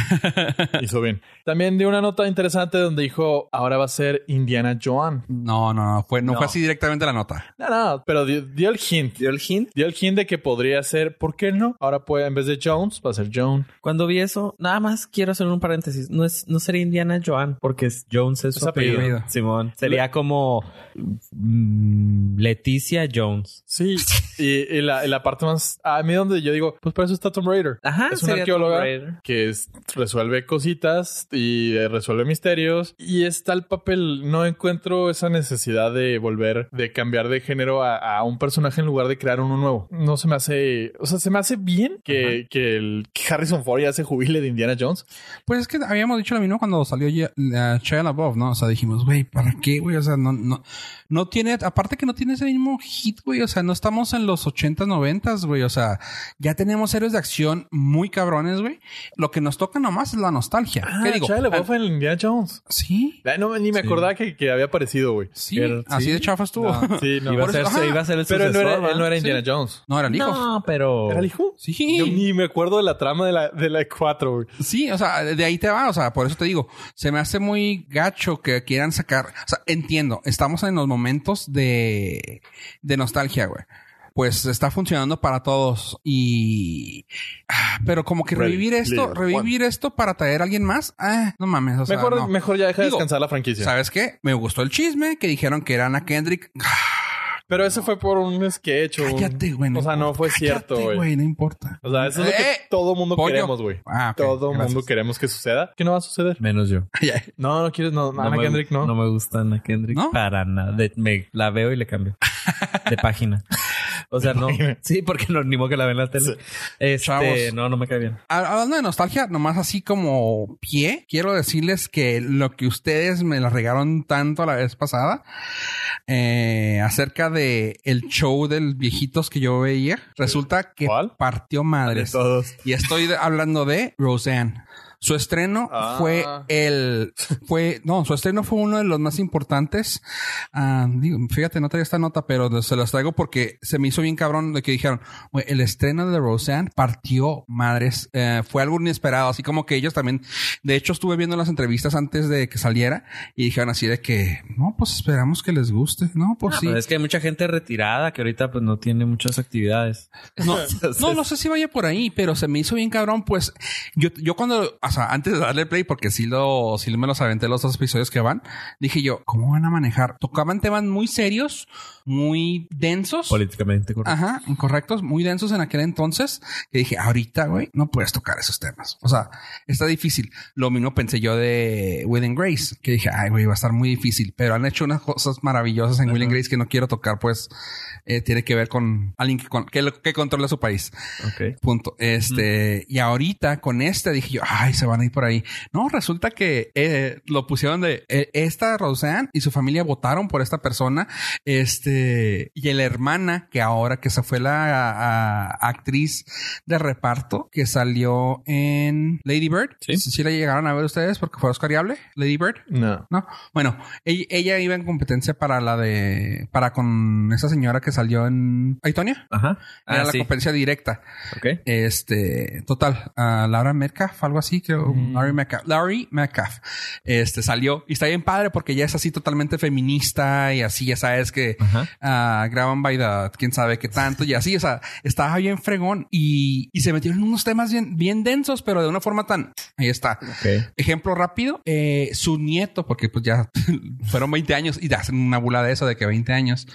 Speaker 3: hizo bien. También dio una nota interesante donde dijo, ahora va a ser Indiana Joan.
Speaker 2: No, no, no. Fue, no,
Speaker 1: No.
Speaker 2: fue así directamente la nota.
Speaker 3: No, no, pero dio, dio el hint.
Speaker 1: ¿Dio el hint?
Speaker 3: Dio el hint de que podría ser, ¿por qué no? Ahora puede, en vez de Jones, va a ser Joan.
Speaker 1: Cuando vi eso, nada más quiero hacer un paréntesis. No es, no sería Indiana Joan, porque es Jones es su
Speaker 3: Es apellido.
Speaker 1: apellido. Simón. Sería como mm, Leticia Jones.
Speaker 3: Sí, (laughs) y, y la, y la parte más... A mí donde yo digo, pues para eso está Tomb Raider.
Speaker 1: Ajá.
Speaker 3: Es una
Speaker 1: sería
Speaker 3: arqueóloga.
Speaker 1: Tomb Raider.
Speaker 3: Que es- resuelve cositas y eh, resuelve misterios. Y está el papel. No encuentro esa necesidad de volver, de cambiar de género a, a un personaje en lugar de crear uno nuevo. No se me hace... O sea, se me hace bien que, que el, que Harrison Ford ya se jubile de Indiana Jones.
Speaker 2: Pues es que habíamos dicho lo mismo cuando salió Ye- la Chia LaBeouf, ¿no? O sea, dijimos, güey, ¿para qué, güey? O sea, no, no, no tiene. Aparte que no tiene ese mismo hit, güey. O sea, no estamos en los 80s, 90s, güey. O sea, ya tenemos héroes de acción muy cabrones, güey. Lo que nos toca nomás es la nostalgia. ¿Qué digo?
Speaker 3: Ah, Shia LaBeouf en Indiana Jones.
Speaker 2: Ah, Sí.
Speaker 3: Ay, no, ni me acordaba que, que había aparecido, güey.
Speaker 2: Sí,
Speaker 3: Pero-
Speaker 2: así
Speaker 3: sí.
Speaker 2: de chafa estuvo.
Speaker 3: No, sí, no.
Speaker 1: Iba, a
Speaker 2: Por
Speaker 1: ser,
Speaker 2: eso- ajá.
Speaker 1: iba a ser el
Speaker 3: Pero él no
Speaker 1: sucesor.
Speaker 3: era, él no
Speaker 1: ¿verdad?
Speaker 3: era Indiana Jones.
Speaker 2: (laughs) No, era el hijo.
Speaker 1: No, pero...
Speaker 3: ¿Era el hijo?
Speaker 2: Sí.
Speaker 3: Yo ni me acuerdo de la trama de la, de la 4, güey.
Speaker 2: Sí, o sea, de ahí te va, o sea, por eso te digo, se me hace muy gacho que quieran sacar, o sea, entiendo, estamos en los momentos de, de nostalgia, güey. Pues está funcionando para todos y... ah, Pero como que
Speaker 3: Ready,
Speaker 2: revivir esto,
Speaker 3: player
Speaker 2: revivir esto para traer a alguien más, ah, no mames, o sea,
Speaker 3: mejor,
Speaker 2: no.
Speaker 3: mejor ya deja de
Speaker 2: Digo,
Speaker 3: descansar la franquicia.
Speaker 2: ¿Sabes qué? Me gustó el chisme que dijeron que era Ana Kendrick.
Speaker 3: Pero ese fue por un sketch. o un-
Speaker 2: Cállate, güey. no
Speaker 3: O sea, no
Speaker 2: importa.
Speaker 3: fue
Speaker 2: Cállate,
Speaker 3: cierto, güey.
Speaker 2: No importa. (laughs)
Speaker 3: O sea, eso es lo que
Speaker 2: ¡Eh!
Speaker 3: todo mundo
Speaker 2: Pollo.
Speaker 3: queremos, güey.
Speaker 2: Ah, ok,
Speaker 3: todo
Speaker 2: gracias.
Speaker 3: mundo queremos que suceda. ¿Qué no va a suceder?
Speaker 1: Menos yo.
Speaker 3: No, no quieres, no, Ana
Speaker 1: me-
Speaker 3: Kendrick, no.
Speaker 1: me gusta Ana Kendrick.
Speaker 2: ¿No?
Speaker 1: Para nada. De- me, la veo y le cambio. De página. O sea, no. Sí, porque no animo que la ve en la tele. Este,
Speaker 2: Chavos.
Speaker 1: no, no me cae bien.
Speaker 2: Hab- Hablando de nostalgia, nomás así como pie, quiero decirles que lo que ustedes me la regaron tanto la vez pasada eh, acerca de el show del viejitos que yo veía, resulta que
Speaker 3: ¿Cuál?
Speaker 2: partió madres.
Speaker 3: todos.
Speaker 2: Y estoy de- hablando de Roseanne. Su estreno
Speaker 3: Ah.
Speaker 2: fue el fue no, su estreno fue uno de los más importantes. Ah, digo, fíjate, no traía esta nota, pero se las traigo porque se me hizo bien cabrón de que dijeron, "Güey, el estreno de Roseanne partió madres, Eh, fue algo inesperado, así como que ellos también, de hecho estuve viendo las entrevistas antes de que saliera y dijeron así de que, no, pues esperamos que les guste, no, pues
Speaker 1: Ah,
Speaker 2: sí.
Speaker 1: pero Es que hay mucha gente retirada que ahorita pues no tiene muchas actividades.
Speaker 2: No, no, no sé si vaya por ahí, pero se me hizo bien cabrón. Pues yo, yo cuando, o sea, sea, antes de darle play, porque sí lo, sí me los aventé los dos episodios que van, dije yo, ¿cómo van a manejar? Tocaban temas muy serios, muy densos.
Speaker 1: Políticamente correcto.
Speaker 2: Ajá, incorrectos, muy densos en aquel entonces. Y dije, ahorita, güey, no puedes tocar esos temas. O sea, está difícil. Lo mismo pensé yo de Will and Grace, que dije, ay, güey, va a estar muy difícil. Pero han hecho unas cosas maravillosas en Will and Grace que no quiero tocar, pues eh, tiene que ver con alguien que, con- que, lo- que controla su país.
Speaker 1: Ok.
Speaker 2: Punto. Este, y ahorita con este dije yo, ay, se van a ir por ahí. No, resulta que eh, lo pusieron de eh, esta Roseanne y su familia votaron por esta persona. Este, y la hermana que ahora que se fue la a- a- actriz de reparto que salió en Lady Bird.
Speaker 1: Sí.
Speaker 2: Sí, la llegaron a ver ustedes porque fue Oscariable, Lady Bird.
Speaker 3: No.
Speaker 2: No, bueno, ella, ella iba en competencia para la de, para con esa señora que salió en Aitonia.
Speaker 1: Ajá.
Speaker 2: Era
Speaker 1: Ah,
Speaker 2: la
Speaker 1: sí.
Speaker 2: competencia directa.
Speaker 1: Ok.
Speaker 2: Este, total, a Laura Metcalf, algo así, creo. Larry Metcalf. Larry Metcalf. Este salió y está bien padre porque ya es así totalmente feminista y así, ya sabes que
Speaker 1: Ajá.
Speaker 2: ah, graban by the quién sabe qué tanto y así, o sea, estaba bien fregón y, y se metieron en unos temas bien, bien densos, pero de una forma tan. Ahí está.
Speaker 1: Ok.
Speaker 2: Ejemplo rápido, eh, su nieto, porque pues ya (laughs) fueron 20 años y hacen una bula de eso de que 20 años.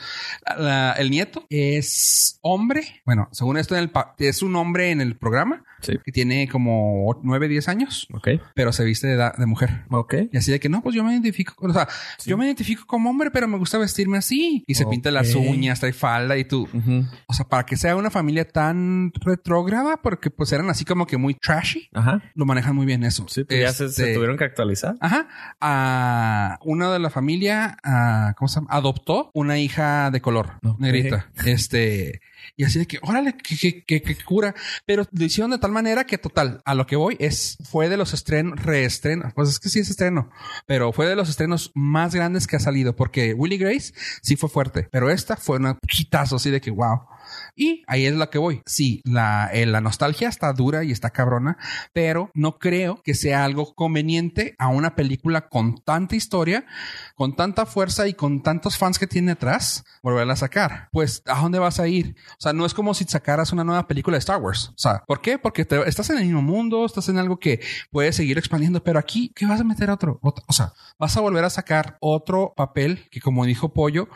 Speaker 2: La- el nieto es hombre, bueno, según esto en el pa- es un hombre en el programa
Speaker 1: Sí.
Speaker 2: que tiene como 9, 10 años,
Speaker 1: Ok.
Speaker 2: pero se viste de, edad- de mujer.
Speaker 1: Ok.
Speaker 2: Y así de que no, pues yo me identifico, o sea, yo me identifico como hombre, pero me gusta vestirme así. Y se pinta las
Speaker 1: Ok.
Speaker 2: uñas, trae falda y tú,
Speaker 1: Ujú.
Speaker 2: o sea, para que sea una familia tan retrógrada, porque pues eran así como que muy trashy.
Speaker 1: Ajá.
Speaker 2: Lo manejan muy bien eso.
Speaker 1: Sí, pues ya se, se
Speaker 2: Este,
Speaker 1: tuvieron que actualizar.
Speaker 2: Ajá. A una de la familia, a, ¿cómo se llama? Adoptó una hija de color,
Speaker 1: Ok.
Speaker 2: negrita. Este, y así de que, órale, que, que, que- que cura. Pero lo hicieron de tal manera que, total, a lo que voy es, fue de los estrenos, reestrenos. Pues es que sí es estreno, pero fue de los estrenos más grandes que ha salido, porque Willy Grace sí fue fuerte, pero esta fue una quitazo así de que, wow. Y ahí es la que voy. Sí, la, eh, la nostalgia está dura y está cabrona, pero no creo que sea algo conveniente a una película con tanta historia, con tanta fuerza y con tantos fans que tiene atrás, volverla a sacar. Pues, ¿a dónde vas a ir? O sea, no es como si sacaras una nueva película de Star Wars. O sea, ¿por qué? Porque te- estás en el mismo mundo, estás en algo que puedes seguir expandiendo, pero aquí, ¿qué vas a meter otro? Ot- O sea, vas a volver a sacar otro papel que, como dijo Pollo,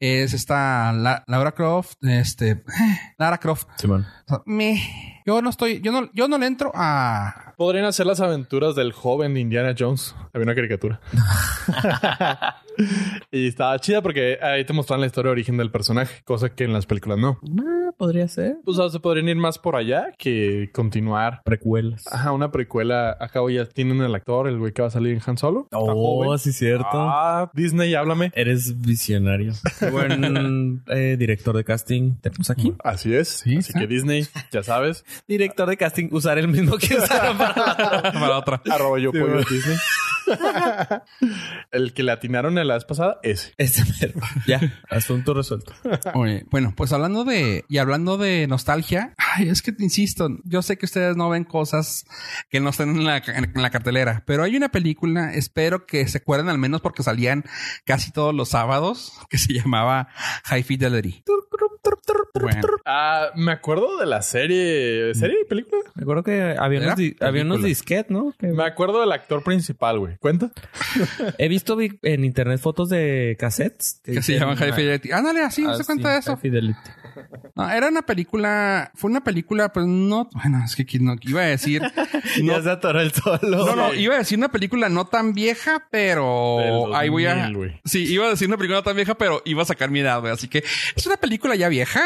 Speaker 2: es esta La- Laura Croft, este, Lara Croft.
Speaker 1: Simón.
Speaker 2: O sea, meh. yo no estoy, yo no, yo no le entro a,
Speaker 3: Podrían hacer las aventuras del joven de Indiana Jones. Había
Speaker 1: (laughs)
Speaker 3: una caricatura. y estaba chida porque ahí te mostraban la historia de origen del personaje, cosa que en las películas no.
Speaker 1: Ah, Podría ser.
Speaker 3: O sea, se podrían ir más por allá que continuar.
Speaker 1: Precuelas.
Speaker 3: Ajá, una precuela. Acá ya tienen el actor, el güey que va a salir en Han Solo. Está joven.
Speaker 1: sí, Oh, cierto.
Speaker 3: Ah, Disney, háblame.
Speaker 1: Eres visionario. (laughs) Buen eh, director de casting. Te puse aquí.
Speaker 3: Así es. Así que Disney, ya sabes.
Speaker 1: Director de casting, usar el mismo que usaron para
Speaker 2: (laughs)
Speaker 1: la
Speaker 2: para otra.
Speaker 3: Arroba yo
Speaker 1: Sí,
Speaker 3: pollo
Speaker 1: güey. (laughs)
Speaker 3: Disney. el que le atinaron en la vez pasada, ese.
Speaker 1: Este mero. Ya, asunto resuelto.
Speaker 2: Oye, bueno, pues hablando de y hablando de nostalgia, ay, es que te insisto, yo sé que ustedes no ven cosas que no están en la, en la cartelera, pero hay una película, espero que se acuerden al menos porque salían casi todos los sábados, que se llamaba High Fidelity. Bueno,
Speaker 3: Ah, me acuerdo de la serie. ¿Serie y película?
Speaker 1: Me acuerdo que había
Speaker 2: Era
Speaker 1: unos, di- había unos
Speaker 2: película.
Speaker 1: disquetes, ¿no? Que-
Speaker 3: Me acuerdo del actor principal, güey. ¿Cuenta?
Speaker 1: He visto vi- en internet fotos de cassettes.
Speaker 2: que se llaman High Fidelity. Ándale, así,
Speaker 1: Ah,
Speaker 2: no se cuenta de eso.
Speaker 1: Fidelity.
Speaker 2: No, era una película, fue una película, pues no, bueno, es que aquí no iba a decir, no,
Speaker 1: Ya se atoró el solo.
Speaker 2: No, no, iba a decir una película no tan vieja,
Speaker 3: Del
Speaker 2: pero
Speaker 3: 2000,
Speaker 2: ahí voy a.
Speaker 3: güey.
Speaker 2: Sí, iba a decir una película no tan vieja, pero iba a sacar mi edad, güey. Así que es una película ya vieja.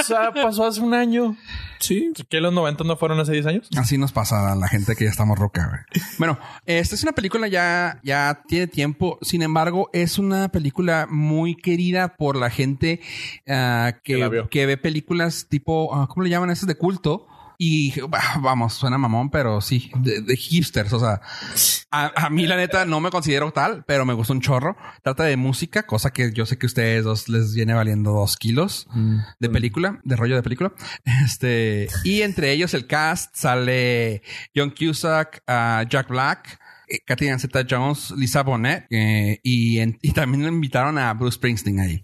Speaker 3: O sea, pasó hace un año.
Speaker 1: Sí.
Speaker 3: ¿Qué los 90 no fueron hace 10 años?
Speaker 2: Así nos pasa a la gente que ya estamos roca, güey. Bueno, esta es una película ya, ya tiene tiempo. Sin embargo, es una película muy querida por la gente ah,
Speaker 3: Que la
Speaker 2: que,
Speaker 3: vio.
Speaker 2: que ve películas tipo, ah, ¿cómo le llaman esas de culto? Y bah, vamos, suena mamón, pero sí, de, de hipsters. O sea, a, a mí la neta no me considero tal, pero me gusta un chorro. Trata de música, cosa que yo sé que a ustedes dos les viene valiendo dos kilos
Speaker 3: Mm,
Speaker 2: de película, de rollo de película. Este, y entre ellos el cast sale John Cusack, ah, Jack Black, eh, Katy Zeta Jones, Lisa Bonet eh, y, en- y también le invitaron a Bruce Springsteen ahí.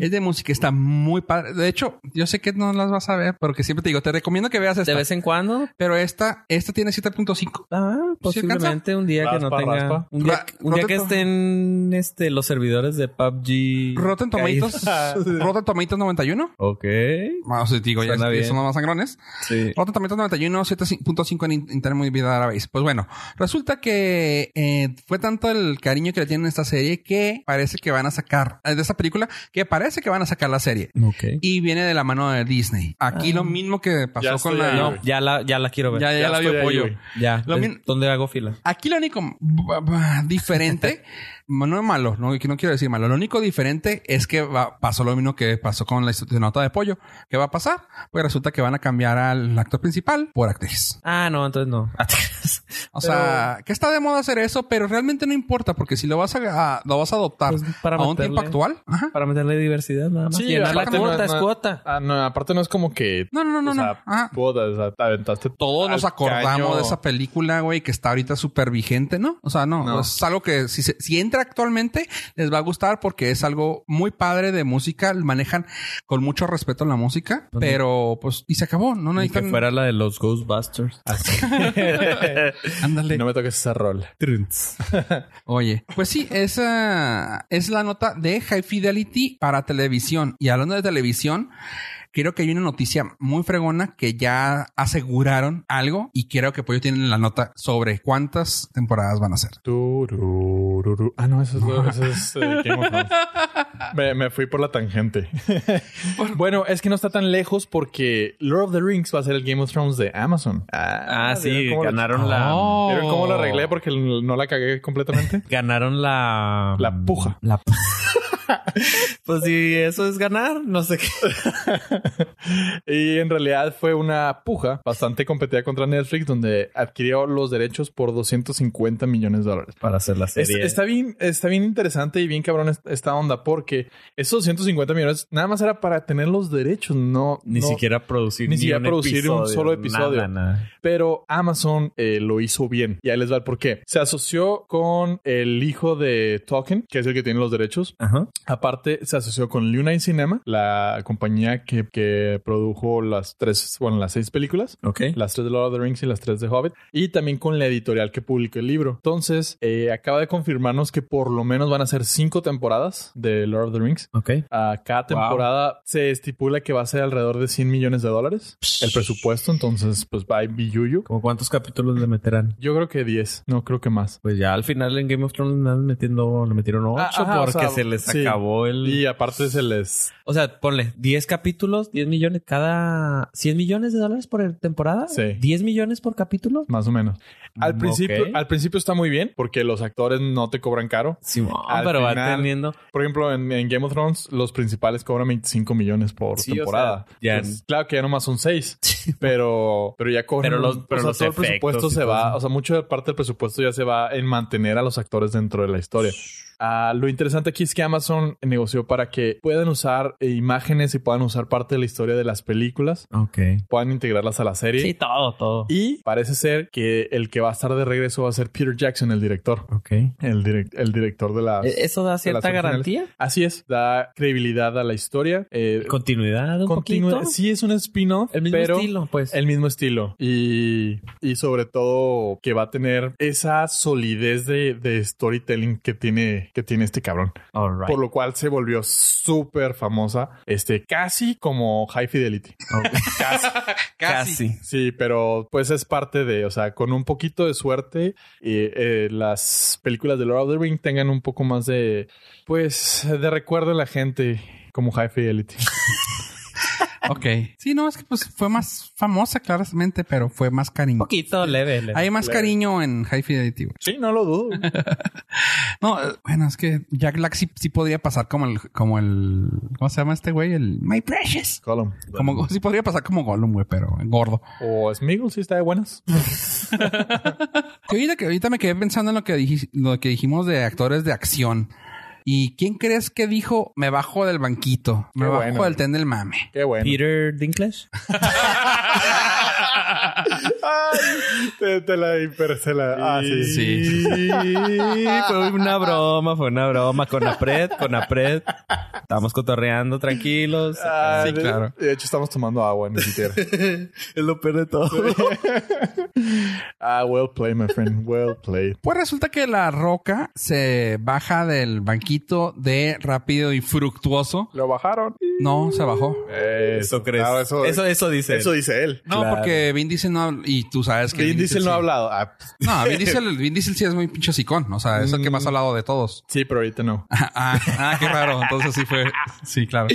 Speaker 2: Es de música, está muy padre. De hecho, yo sé que no las vas a ver porque siempre te digo, te recomiendo que veas
Speaker 1: De
Speaker 2: esta.
Speaker 1: vez en cuando.
Speaker 2: Pero esta, esta tiene 7.5.
Speaker 1: Ah, posiblemente un día que no
Speaker 3: Raspa,
Speaker 1: tenga.
Speaker 3: raspa.
Speaker 1: Un día,
Speaker 2: Ra-
Speaker 1: un día
Speaker 2: Rotten
Speaker 1: que
Speaker 2: Tom-
Speaker 1: estén este, los servidores de PUBG.
Speaker 2: Rotten
Speaker 1: caídos. (laughs)
Speaker 2: Tomatoes, Rotten Tomatoes 91.
Speaker 1: Ok.
Speaker 2: Vamos, te Ah, digo, ya
Speaker 1: Suena bien.
Speaker 2: son los más sangrones.
Speaker 1: Sí.
Speaker 2: Rotten Tomatoes 91, 7.5 en in- Internet Movie Database. Pues bueno, resulta que eh, fue tanto el cariño que le tienen a esta serie que parece que van a sacar, eh, de esta película, que parece que van a sacar la serie.
Speaker 1: Ok.
Speaker 2: Y viene de la mano de Disney. Aquí
Speaker 1: Ah.
Speaker 2: lo mismo que pasó
Speaker 3: Ya
Speaker 2: con
Speaker 3: estoy
Speaker 2: la...
Speaker 3: ahí,
Speaker 1: No,
Speaker 3: güey.
Speaker 1: ya la, ya la quiero ver.
Speaker 2: ya, ya,
Speaker 3: Ya
Speaker 2: la
Speaker 3: estoy
Speaker 2: vio
Speaker 3: ahí,
Speaker 2: pollo.
Speaker 3: güey.
Speaker 1: Ya.
Speaker 2: Lo
Speaker 1: es
Speaker 2: min-
Speaker 1: ¿Dónde hago fila?
Speaker 2: Aquí lo único b- b-
Speaker 1: (laughs)
Speaker 2: diferente, no es malo, no, que no quiero decir malo, lo único diferente es que va- pasó lo mismo que pasó con la nota de pollo. ¿Qué va a pasar? Pues resulta que van a cambiar al actor principal por actriz.
Speaker 1: Ah, no, entonces no. (laughs)
Speaker 2: O sea, que está de moda hacer eso, pero realmente no importa porque si lo vas a, a- lo vas a adoptar
Speaker 1: Pues, para
Speaker 2: a un
Speaker 1: meterle-
Speaker 2: tiempo actual. Ajá.
Speaker 1: Para meterle diversidad nada más.
Speaker 3: Sí,
Speaker 1: Llenar la
Speaker 3: aparte no
Speaker 1: cuota,
Speaker 3: es
Speaker 1: es
Speaker 3: nada-
Speaker 1: cuota.
Speaker 3: Ah, no, aparte no es como que.
Speaker 2: No, no, no, no,
Speaker 3: o
Speaker 2: no. Ah.
Speaker 3: sea,
Speaker 2: Ajá.
Speaker 3: puta, o sea, te aventaste
Speaker 2: (laughs) Todos nos
Speaker 3: al
Speaker 2: acordamos
Speaker 3: caño.
Speaker 2: de esa película, güey, que está ahorita súper vigente, ¿no? O sea, no,
Speaker 3: No.
Speaker 2: es algo que si, se- si entra actualmente les va a gustar porque es algo muy padre de música, manejan con mucho respeto la música,
Speaker 1: Ujú.
Speaker 2: pero pues, y se acabó, no
Speaker 1: Ni que
Speaker 2: necesitan...
Speaker 1: fuera la de los Ghostbusters. Ah,
Speaker 2: Ándale.
Speaker 3: No me toques ese rol.
Speaker 2: Oye, pues sí, esa es la nota de High Fidelity para televisión. Y hablando de televisión, creo que hay una noticia muy fregona que ya aseguraron algo y creo que Pollo tienen la nota sobre cuántas temporadas van a ser.
Speaker 3: Tururururu. Ah, no, eso es, lo- eso es, eh, Game of Thrones. (laughs) Me, me fui por la tangente. (laughs) bueno, es que no está tan lejos porque Lord of the Rings va a ser el Game of Thrones de Amazon.
Speaker 1: Ah, sí,
Speaker 3: ¿vieron cómo lo-
Speaker 1: ganaron la.
Speaker 2: Oh.
Speaker 3: ¿Vieron cómo lo arreglé? Porque no la cagué completamente.
Speaker 1: Ganaron la.
Speaker 3: La puja.
Speaker 1: La pu- (laughs) pues si eso es ganar, no sé
Speaker 3: (laughs)
Speaker 1: qué.
Speaker 3: (laughs) y en realidad fue una puja bastante competida contra Netflix donde adquirió los derechos por 250 millones de dólares.
Speaker 1: Para hacer la
Speaker 3: Es- está bien, está bien interesante y bien cabrón es- esta onda porque esos 150 millones nada más era para tener los derechos, no
Speaker 1: Ni
Speaker 3: no-
Speaker 1: siquiera producir.
Speaker 3: Ni siquiera producir un solo
Speaker 1: nada,
Speaker 3: episodio.
Speaker 1: nada.
Speaker 3: Pero Amazon eh, lo hizo bien. Y ahí les va el porqué. Se asoció con el hijo de Tolkien, que es el que tiene los derechos.
Speaker 1: Ajá.
Speaker 3: Aparte, se asoció con Luna Cinema, la compañía que, que produjo las tres, bueno, las seis películas.
Speaker 1: Ok.
Speaker 3: Las tres de Lord of the Rings y las tres de Hobbit. Y también con la editorial que publicó el libro. Entonces, eh, acaba de confirmarnos que por lo menos van a ser cinco temporadas de Lord of the Rings.
Speaker 1: Ok.
Speaker 3: A cada
Speaker 1: Wow.
Speaker 3: temporada se estipula que va a ser alrededor de 100 millones de dólares el presupuesto. Entonces, pues, bye, billuyo.
Speaker 1: ¿Cómo cuántos capítulos le meterán?
Speaker 3: Yo creo que 10, no creo que más.
Speaker 1: Pues ya al final en Game of Thrones le andan metiendo, le metieron ocho
Speaker 3: Ah, ajá, o
Speaker 1: porque
Speaker 3: sea,
Speaker 1: se les
Speaker 3: sí.
Speaker 1: acabó el.
Speaker 3: Y aparte se les...
Speaker 1: O sea, ponle 10 capítulos, 10 millones cada. ¿100 millones de dólares por temporada?
Speaker 3: Sí.
Speaker 1: ¿10 millones por capítulo?
Speaker 3: Más o menos. Al
Speaker 1: Mm,
Speaker 3: principio,
Speaker 1: ok.
Speaker 3: al principio está muy bien porque los actores no te cobran caro.
Speaker 1: Sí,
Speaker 3: Al
Speaker 1: Ah, pero va
Speaker 3: final-
Speaker 1: teniendo.
Speaker 3: Por ejemplo, en, en Game of Thrones los principales cobran 25 millones por
Speaker 1: Sí, o
Speaker 3: temporada.
Speaker 1: sea, ya-
Speaker 3: Entonces, claro que ya nomás
Speaker 1: (laughs)
Speaker 3: son 6, pero, pero ya cobran...
Speaker 1: Pero los-
Speaker 3: o
Speaker 1: pero
Speaker 3: sea,
Speaker 1: los
Speaker 3: todo el
Speaker 1: efectos
Speaker 3: presupuesto
Speaker 1: y
Speaker 3: se
Speaker 1: todo
Speaker 3: va,
Speaker 1: eso.
Speaker 3: o sea, mucha parte del presupuesto ya se va en mantener a los actores dentro de la historia. Ah, lo interesante aquí es que Amazon negoció para que puedan usar eh, imágenes y puedan usar parte de la historia de las películas,
Speaker 1: Ok.
Speaker 3: puedan integrarlas a la serie.
Speaker 1: Sí, todo, todo.
Speaker 3: Y parece ser que el que va a estar de regreso va a ser Peter Jackson, el director.
Speaker 1: Ok.
Speaker 3: El, direc- el director de la...
Speaker 1: ¿E- ¿Eso da
Speaker 3: las
Speaker 1: cierta
Speaker 3: originales.
Speaker 1: garantía?
Speaker 3: Así es, da credibilidad a la historia. Eh,
Speaker 1: ¿Continuidad un
Speaker 3: continúa-
Speaker 1: poquito?
Speaker 3: Sí, es un spin-off,
Speaker 1: El mismo
Speaker 3: pero
Speaker 1: estilo, pues.
Speaker 3: el mismo estilo. Y, y sobre todo que va a tener esa solidez de, de storytelling que tiene, que tiene este cabrón.
Speaker 1: All right.
Speaker 3: Por lo cual se volvió súper famosa, este, casi como High Fidelity.
Speaker 1: Casi.
Speaker 3: Sí, pero pues es parte de, o sea, con un poquito de suerte, eh, eh, las películas de Lord of the Ring tengan un poco más de, pues, de recuerdo a la gente como High Fidelity.
Speaker 2: Ok. Sí, no, es que pues fue más famosa claramente, pero fue más
Speaker 1: Un
Speaker 2: cariño.
Speaker 1: poquito leve, leve.
Speaker 2: Hay más
Speaker 3: Claro.
Speaker 2: cariño en High Fidelity. güey.
Speaker 3: Sí, no lo dudo.
Speaker 2: No, eh, bueno, es que Jack Black sí, sí podría pasar como el, como el, ¿cómo se llama este güey? El My Precious.
Speaker 3: Column.
Speaker 2: Como, sí podría pasar como Gollum, güey, pero gordo.
Speaker 3: O Smiggle, sí está de buenas.
Speaker 2: Que ahorita, que ahorita me quedé pensando en lo que, dijis- lo que dijimos de actores de acción. ¿Y quién crees que dijo me bajo del banquito? Me
Speaker 3: Qué
Speaker 2: bajo
Speaker 3: bueno.
Speaker 2: del ten del mame.
Speaker 1: (laughs)
Speaker 3: Qué bueno.
Speaker 1: Peter Dinklage.
Speaker 3: (laughs) Ay, te, te la hipercela. Ah, sí.
Speaker 1: Sí, sí, (laughs) Fue una broma, fue una broma. Con Apret, con Apret. Estamos cotorreando tranquilos.
Speaker 3: Ah,
Speaker 2: Sí,
Speaker 3: de- (laughs)
Speaker 2: claro.
Speaker 3: De hecho, estamos tomando agua, ni siquiera.
Speaker 1: Es lo peor de todo.
Speaker 3: ah, well played, my friend. Well played.
Speaker 2: Pues resulta que la roca se baja del banquito de rápido y fructuoso.
Speaker 3: ¿Lo bajaron?
Speaker 2: No, se bajó.
Speaker 1: Eso crees.
Speaker 3: Ah,
Speaker 1: eso, eso, dice.
Speaker 3: eso dice él.
Speaker 2: No,
Speaker 1: Claro.
Speaker 2: porque Vin Diesel no habla. Y tú sabes que.
Speaker 3: Vin Diesel no
Speaker 2: sí-
Speaker 3: ha hablado. Ah, pff,
Speaker 2: No, Vin
Speaker 3: (laughs)
Speaker 2: Diesel, Vin Diesel sí es muy pinche sicón. O sea, es el que más ha hablado de todos.
Speaker 3: sí, pero ahorita no.
Speaker 2: Ah, (laughs) ah, ah, qué raro. Entonces sí fue. Sí, claro.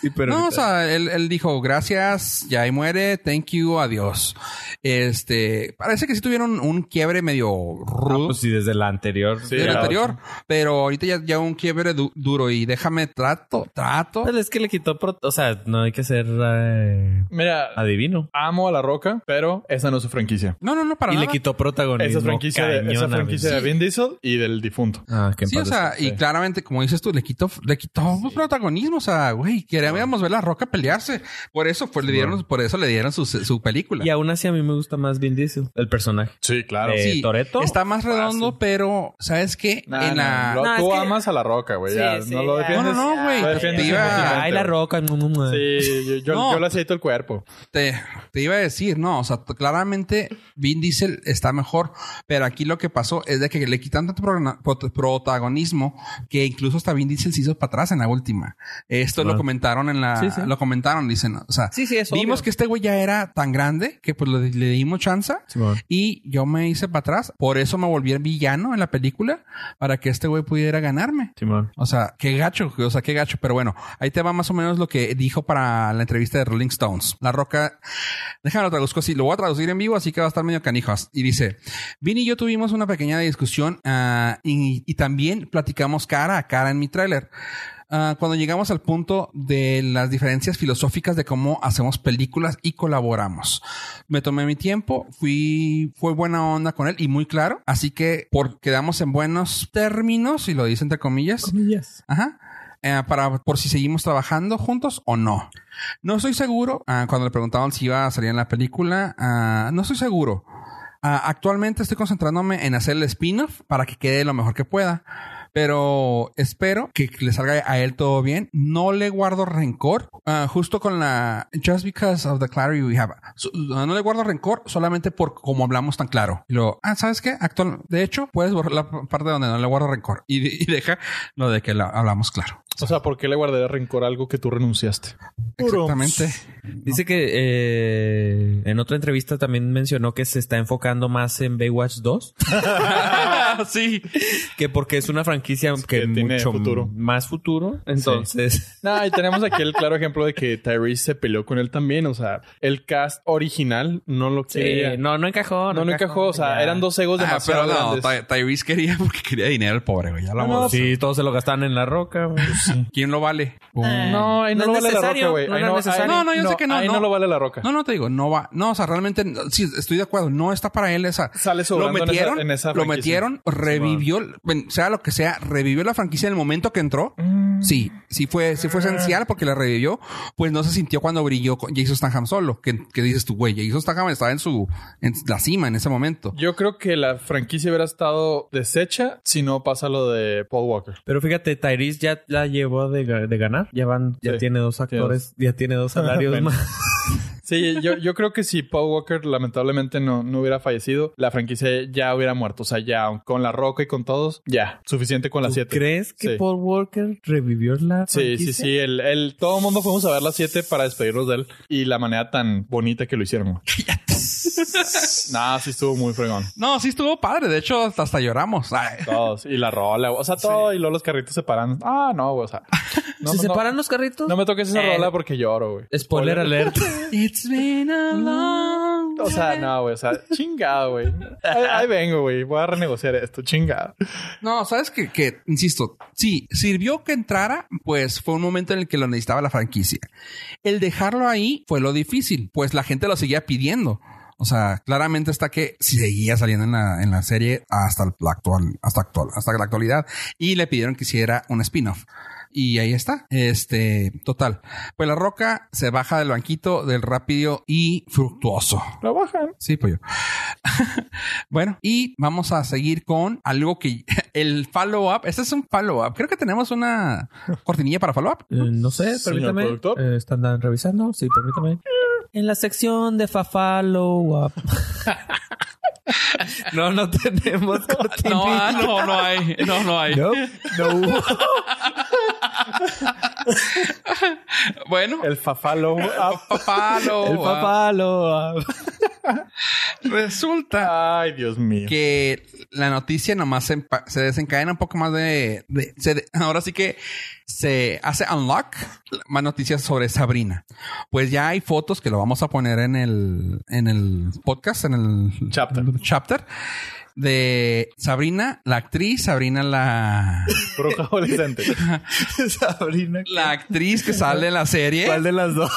Speaker 1: Sí, pero
Speaker 2: no, o sea, él, él dijo gracias, ya ahí muere, thank you, adiós. Este, parece que sí tuvieron un quiebre medio rudo.
Speaker 1: pues sí, desde la anterior.
Speaker 3: Sí,
Speaker 2: del
Speaker 3: ya,
Speaker 2: anterior, pero ahorita ya, ya un quiebre du- duro y déjame trato, trato.
Speaker 1: Pues es que le quitó. pro- O sea, no hay que ser eh,
Speaker 3: Mira,
Speaker 1: adivino.
Speaker 3: amo a La Roca, pero esa no es su franquicia.
Speaker 2: No, no, no, para
Speaker 1: Y le
Speaker 2: nada.
Speaker 1: quitó protagonismo.
Speaker 3: Esa es franquicia, de, esa
Speaker 1: cañón a
Speaker 3: franquicia de
Speaker 1: Vin.
Speaker 3: Vin Diesel y del difunto.
Speaker 1: Ah, que en
Speaker 2: Sí, o
Speaker 1: paz
Speaker 2: sea,
Speaker 1: descanse.
Speaker 2: y claramente, como dices tú, le quitó, le quitó protagonismo. O sea, güey, queríamos ver a la roca pelearse. Por eso, pues, le dieron, por eso le dieron su, su película.
Speaker 1: Y aún así a mí me gusta más Vin Diesel, el personaje.
Speaker 3: Sí, claro.
Speaker 1: Eh,
Speaker 2: Sí,
Speaker 1: Toretto.
Speaker 2: Está más redondo, pero, ¿sabes qué?
Speaker 3: No,
Speaker 2: en
Speaker 3: no,
Speaker 2: la...
Speaker 3: no,
Speaker 5: No, es
Speaker 3: tú
Speaker 5: que-
Speaker 3: amas a La Roca, güey.
Speaker 5: Sí,
Speaker 3: ya,
Speaker 5: sí,
Speaker 3: no lo
Speaker 5: ya.
Speaker 3: defiendes.
Speaker 2: No, no, no, güey.
Speaker 3: Lo
Speaker 2: Te
Speaker 3: defiendes
Speaker 2: iba,
Speaker 3: emocionalmente,
Speaker 1: Ay, la
Speaker 3: güey.
Speaker 1: roca. mm, mm, mm.
Speaker 3: Sí, yo, yo,
Speaker 2: No.
Speaker 3: yo le aceito el cuerpo.
Speaker 2: te, te iba a decir, no, o sea, t- claramente Vin Diesel está mejor, pero aquí lo que pasó es de que le quitan tanto progna- prot- protagonismo que incluso hasta Vin Diesel se hizo para atrás en la última. Esto lo
Speaker 1: Ah.
Speaker 2: comentaron en la,
Speaker 1: Sí, sí.
Speaker 2: lo comentaron, dicen, o sea,
Speaker 5: Sí, sí, eso.
Speaker 2: vimos que este güey ya era tan grande que pues le, le dimos chance
Speaker 1: Simón.
Speaker 2: y yo me hice para atrás, por eso me volví villano en la película para que este güey pudiera ganarme.
Speaker 1: Simón.
Speaker 2: O sea, qué gacho, o sea, qué gacho. Pero bueno, ahí te va más o menos lo que dijo para la entrevista de Rolling Stones. La Roca, déjame lo traduzco así, lo voy a traducir en vivo, así que va a estar medio canijas. Y dice, Vini y yo tuvimos una pequeña discusión ah, y, y también platicamos cara a cara en mi tráiler. Ah, cuando llegamos al punto de las diferencias filosóficas de cómo hacemos películas y colaboramos. Me tomé mi tiempo, fui, fue buena onda con él y muy claro. Así que por, quedamos en buenos términos, y lo dice entre comillas. Ajá. Eh, para por si seguimos trabajando juntos o no. No estoy seguro. ah, cuando le preguntaban si iba a salir en la película, ah, no estoy seguro. Ah, actualmente estoy concentrándome en hacer el spin-off para que quede lo mejor que pueda. Pero espero que le salga a él todo bien. No le guardo rencor. ah, justo con la... Just because of the clarity we have. So- ah, no le guardo rencor solamente por como hablamos tan claro. Y luego, ah, ¿sabes qué? Actual, de hecho, puedes borrar la parte donde no le guardo rencor. Y, de- y deja lo de que la- hablamos claro.
Speaker 3: O sea, ¿por qué le guardaré rencor a algo que tú renunciaste?
Speaker 2: Exactamente. (laughs)
Speaker 1: Dice que eh, en otra entrevista también mencionó que se está enfocando más en Baywatch 2.
Speaker 2: Ah, sí.
Speaker 1: (laughs) Que porque es una franquicia que,
Speaker 3: que tiene
Speaker 1: mucho
Speaker 3: futuro.
Speaker 1: más futuro. (laughs) Entonces,
Speaker 3: Nah, y tenemos aquí el claro ejemplo de que Tyrese se peleó con él también. O sea, el cast original no lo quería.
Speaker 1: eh,
Speaker 3: no,
Speaker 1: no, no encajó.
Speaker 3: no, encajó. O sea,
Speaker 1: Ya.
Speaker 3: eran dos egos
Speaker 2: Ah,
Speaker 3: demasiado
Speaker 2: pero no,
Speaker 3: grandes.
Speaker 2: Ty- Tyrese quería porque quería dinero el pobre, güey. Ya
Speaker 1: Ah,
Speaker 2: lo
Speaker 3: No, pues,
Speaker 2: vamos.
Speaker 1: Sí, todos se lo gastaban en la roca. güey.
Speaker 3: (laughs)
Speaker 2: ¿Quién lo vale?
Speaker 3: Eh, No, ahí no,
Speaker 1: pues, No
Speaker 3: lo
Speaker 1: es
Speaker 3: vale la roca,
Speaker 1: necesario,
Speaker 3: güey.
Speaker 1: no
Speaker 3: Ahí
Speaker 1: era
Speaker 3: ahí-
Speaker 1: necesario.
Speaker 2: No, no, yo sé que no,
Speaker 3: Ahí no,
Speaker 2: no.
Speaker 3: lo vale la roca.
Speaker 2: No, no te digo, no va, no, o sea, realmente no, sí, estoy de acuerdo, no está para él esa.
Speaker 3: Sale
Speaker 2: Lo
Speaker 3: sobrando en esa-
Speaker 2: metieron,
Speaker 3: en esa
Speaker 2: lo
Speaker 3: franquicia.
Speaker 2: metieron, revivió, bueno, sea lo que sea, revivió la franquicia en el momento que entró. Sí, sí fue, sí fue esencial porque la revivió, pues no se sintió cuando brilló con Jason Statham solo, que, que dices tú, güey, Jason Statham estaba en su, en la cima en ese momento.
Speaker 3: Yo creo que la franquicia hubiera estado deshecha si no pasa lo de Paul Walker.
Speaker 1: Pero fíjate, Tyrese ya la llevó de, ga- de ganar. Ya van, ya
Speaker 3: Sí.
Speaker 1: tiene dos actores, ya tiene dos salarios
Speaker 3: (laughs) Bueno.
Speaker 1: más.
Speaker 3: Sí, yo, yo creo que si Paul Walker lamentablemente no, no hubiera fallecido, la franquicia ya hubiera muerto. O sea, ya con la roca y con todos, ya. Suficiente con las
Speaker 1: ¿Tú
Speaker 3: siete.
Speaker 1: ¿Crees que
Speaker 3: Sí.
Speaker 1: Paul Walker revivió la
Speaker 3: Sí, sí,
Speaker 1: franquicia?
Speaker 3: sí. El, el, todo el mundo fuimos a ver las 7 para despedirnos de él y la manera tan bonita que lo hicieron. Nada, sí estuvo muy fregón.
Speaker 2: No, sí estuvo padre, de hecho, hasta, hasta lloramos. Ay.
Speaker 3: Todos. Y la rola, güey. o sea, todo. Y luego los carritos se paran. Ah, no, güey. O sea, no,
Speaker 1: ¿Se
Speaker 3: no,
Speaker 1: separan los carritos?
Speaker 3: No, no me toques esa rola porque lloro, güey.
Speaker 1: Eh, Spoiler (laughs) alert. Eh,
Speaker 2: It's been a long
Speaker 3: O sea, no, güey. O sea, chingado, güey. Ahí, ahí vengo, güey. Voy a renegociar esto, chingado.
Speaker 2: No, sabes que, que, insisto, sí, sirvió que entrara, pues fue un momento en el que lo necesitaba la franquicia. El dejarlo ahí fue lo difícil, pues la gente lo seguía pidiendo. O sea, claramente está que seguía saliendo en la, en la serie hasta la actual, hasta actual, hasta la actualidad, y le pidieron que hiciera un spin-off. Y ahí está. Este, total. Pues la roca se baja del banquito del rápido y fructuoso.
Speaker 3: Lo bajan.
Speaker 2: Sí, pollo. (laughs) bueno, y vamos a seguir con algo que (laughs) el follow-up. Este es un follow-up. Creo que tenemos una cortinilla para follow-up.
Speaker 1: Eh, no sé,
Speaker 3: Señor
Speaker 1: permítame.
Speaker 3: productor.
Speaker 1: Eh, están dan- revisando, sí, permítame. En la sección de Fafalo. (laughs) no, (laughs) no tenemos
Speaker 2: No,
Speaker 1: cortinilla.
Speaker 2: ah, no, no hay. No, no hay.
Speaker 1: No, (laughs) no hubo.
Speaker 2: Bueno,
Speaker 3: El fafalo. Ah,
Speaker 2: papá lo-
Speaker 1: El Fafalo.
Speaker 2: Resulta
Speaker 3: Ay, Dios mío.
Speaker 2: que la noticia nomás se, empa- se desencadena un poco más de, de- se de- (laughs) ahora sí que se hace unlock más noticias sobre Sabrina pues ya hay fotos que lo vamos a poner en el en el podcast en el
Speaker 3: Chapter.
Speaker 2: chapter de Sabrina la actriz Sabrina la
Speaker 3: Roja adolescente.
Speaker 1: Sabrina.
Speaker 2: la actriz que sale en la
Speaker 1: ¿Cuál
Speaker 2: serie
Speaker 1: de
Speaker 3: (laughs)
Speaker 1: las dos?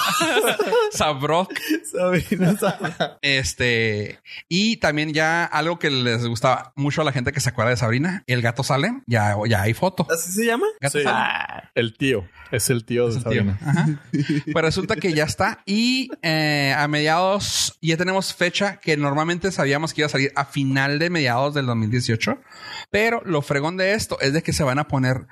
Speaker 2: Sabrok
Speaker 1: Sabrina, Sabrina.
Speaker 2: Este, y también ya algo que les gustaba mucho a la gente que se acuerda de Sabrina, el gato Salem, ya, ya hay foto.
Speaker 1: ¿Así se llama?
Speaker 2: Gato
Speaker 3: Sí.
Speaker 2: Salem.
Speaker 3: El tío. Es el tío de Sabrina.
Speaker 2: Ajá. Pues resulta que ya está. Y eh, a mediados, ya tenemos fecha que normalmente sabíamos que iba a salir a final de mediados del 2018. Pero lo fregón de esto es de que se van a poner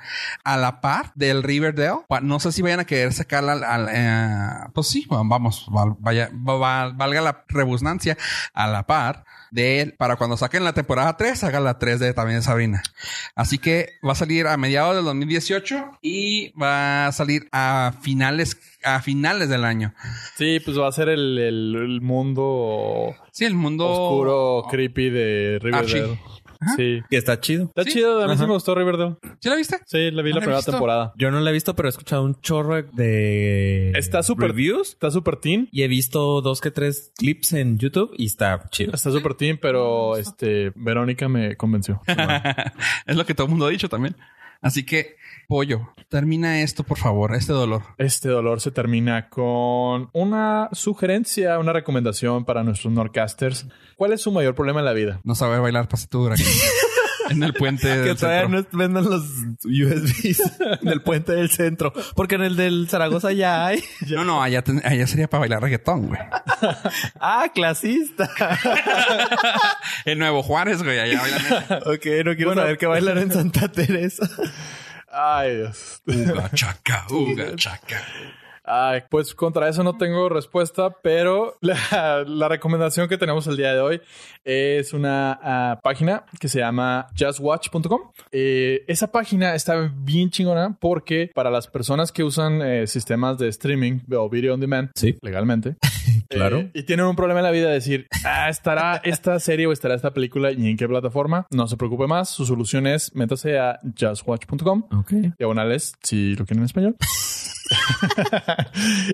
Speaker 2: a la par del Riverdale. Pa- No sé si vayan a querer sacarla al. al, eh, pues sí, va- vamos, val- vaya, va- va- valga la rebusnancia, a la par. De él, para cuando saquen la temporada 3, hagan la 3 de también de Sabrina. Así que va a salir a mediados del 2018 y va a salir a finales a finales del año.
Speaker 3: Sí, pues va a ser el, el- el mundo
Speaker 2: Sí, el mundo
Speaker 3: oscuro, creepy de Riverdale. Sí.
Speaker 1: Que está chido.
Speaker 3: Está
Speaker 2: Sí.
Speaker 3: chido. A mí sí
Speaker 1: Ajá.
Speaker 3: me gustó Riverdale.
Speaker 2: ¿Sí la viste?
Speaker 3: Sí, la
Speaker 2: ¿No la
Speaker 3: vi la
Speaker 2: he
Speaker 3: primera
Speaker 2: visto?
Speaker 3: temporada.
Speaker 1: Yo no la he visto, pero he escuchado un chorro de
Speaker 3: Está súper-
Speaker 1: reviews
Speaker 3: Está súper teen.
Speaker 1: y he visto dos que tres clips en YouTube y está chido.
Speaker 3: Está súper teen, pero este Verónica me convenció.
Speaker 2: es lo que todo el mundo ha dicho también. Así que pollo, termina esto por favor, este dolor.
Speaker 3: Este dolor se termina con una sugerencia, una recomendación para nuestros Norcasters. ¿Cuál es su mayor problema en la vida?
Speaker 2: No saber bailar pasadura en el puente
Speaker 1: Que
Speaker 2: del
Speaker 1: todavía
Speaker 2: centro.
Speaker 1: no vendan los (laughs) USBs del puente del centro. Porque en el del Zaragoza ya hay.
Speaker 2: No, no, allá, ten- allá sería para bailar reggaetón, güey.
Speaker 1: Ah, clasista.
Speaker 2: En Nuevo Juárez, güey, allá bailan
Speaker 1: (laughs) Ok, no quiero saber qué bailar en Santa Teresa.
Speaker 3: Ay, Dios.
Speaker 2: uga chaca, uga chaca.
Speaker 3: Ay, pues contra eso no tengo respuesta, pero la, (laughs) la recomendación que tenemos el día de hoy es una ah, página que se llama justwatch.com. Eh, esa página está bien chingona porque para las personas que usan eh, sistemas de streaming o video on demand
Speaker 1: Sí. (laughs)
Speaker 3: legalmente,
Speaker 1: Claro.
Speaker 3: eh, y tienen un problema en la vida de decir, ah, estará esta serie o estará esta película y en qué plataforma. No se preocupe más. Su solución es métase a justwatch.com
Speaker 1: Ok.
Speaker 3: diagonales, si lo quieren
Speaker 1: (laughs)
Speaker 3: en español.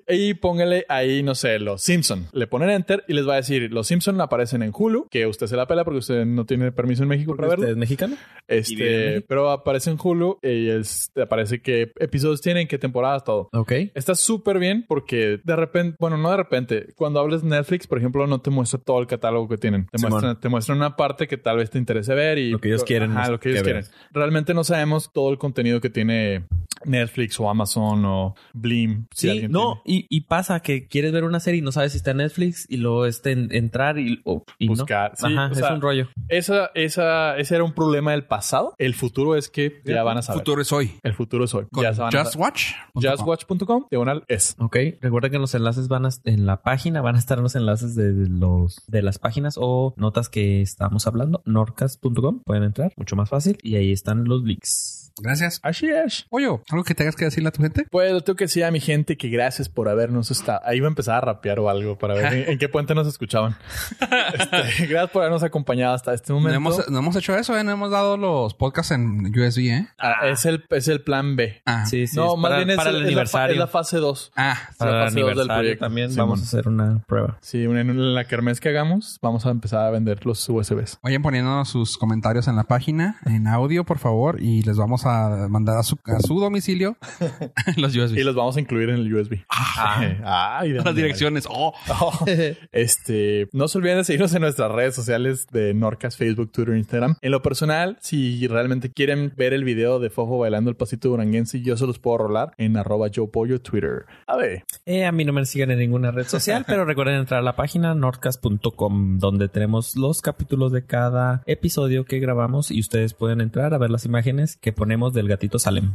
Speaker 3: y póngale ahí, no sé, los Simpson. Le ponen enter y les va a decir, los Simpson aparecen en Hulu, que usted se la pela porque usted no tiene permiso en México para verlo.
Speaker 1: ¿Usted es mexicano? vive en
Speaker 3: Este,
Speaker 1: México.
Speaker 3: pero aparece en Hulu y es- te aparece qué episodios tienen, qué temporadas, todo.
Speaker 1: Ok.
Speaker 3: Está súper bien porque de repente, bueno, no de repente, cuando hables Netflix, por ejemplo, no te muestra todo el catálogo que tienen. Te,
Speaker 1: Simón.
Speaker 3: muestran, te muestran una parte que tal vez te interese ver y
Speaker 1: Lo que ellos quieren
Speaker 3: Ajá, lo que ellos
Speaker 1: que
Speaker 3: quieren.
Speaker 1: veas.
Speaker 3: Realmente no sabemos todo el contenido que tiene Netflix o Amazon o Blim. si
Speaker 1: Sí,
Speaker 3: alguien
Speaker 1: no, y, y pasa que quieres ver una serie y no sabes si está en Netflix y luego este en- entrar y, o- y no.
Speaker 3: Buscar, sí,
Speaker 1: Ajá,
Speaker 3: o
Speaker 1: es
Speaker 3: sea,
Speaker 1: un rollo.
Speaker 3: tiene. Esa, esa, ese era un problema del pasado. El futuro es que ya van a saber.
Speaker 2: Futuro es hoy.
Speaker 3: El futuro es hoy.
Speaker 2: Con
Speaker 3: Ya se van a
Speaker 2: Just
Speaker 3: saber.
Speaker 2: Watch.
Speaker 3: Justwatch.com, diagonal es.
Speaker 1: Ok, recuerda que los enlaces van a, en la página, van a estar los enlaces de los de las páginas o notas que estamos hablando, norcas.com, pueden entrar, mucho más fácil, y ahí están los links.
Speaker 2: Gracias.
Speaker 3: Así es.
Speaker 2: Pollo, ¿algo que tengas que decirle a tu gente?
Speaker 3: Pues lo tengo que decir a mi gente que gracias por habernos estado. Ahí va a empezar a rapear o algo para ver en, en qué puente nos escuchaban. Este, gracias por habernos acompañado hasta este
Speaker 2: No
Speaker 3: momento.
Speaker 2: hemos, no hemos hecho eso, ¿eh? No hemos dado los podcasts en USB, ¿eh?
Speaker 3: Ah, es, el, es el plan B.
Speaker 2: Ah,
Speaker 1: Sí, sí,
Speaker 3: no,
Speaker 1: es
Speaker 3: más
Speaker 1: para,
Speaker 3: bien es,
Speaker 1: para
Speaker 3: el-
Speaker 1: el
Speaker 3: es la fa-
Speaker 1: aniversario.
Speaker 3: es la fase 2.
Speaker 2: Ah,
Speaker 1: para el
Speaker 3: fase dos del
Speaker 1: aniversario
Speaker 3: proyecto.
Speaker 1: también
Speaker 3: Simón.
Speaker 1: vamos a hacer una prueba.
Speaker 3: Sí, en, en la kermés que hagamos, vamos a empezar a vender los USBs.
Speaker 2: vayan poniendo sus comentarios en la página, en audio, por favor, y les vamos a a mandar a su, a su
Speaker 3: (laughs)
Speaker 2: domicilio (laughs) los USB.
Speaker 3: Y los vamos a incluir en el USB. (laughs) Ah, y de
Speaker 2: Las direcciones. Oh.
Speaker 3: Oh, este, no se olviden de seguirnos en nuestras redes sociales de Norcas, Facebook, Twitter, Instagram. En lo personal, si realmente quieren ver el video de Fofo bailando el pasito duranguense, yo se los puedo rolar en arroba yo pollo Twitter. A ver,
Speaker 1: Eh, a mí no me siguen en ninguna red (laughs) social, pero recuerden entrar a la página nordcast.com, donde tenemos los capítulos de cada episodio que grabamos y ustedes pueden entrar a ver las imágenes que ponemos del gatito Salem.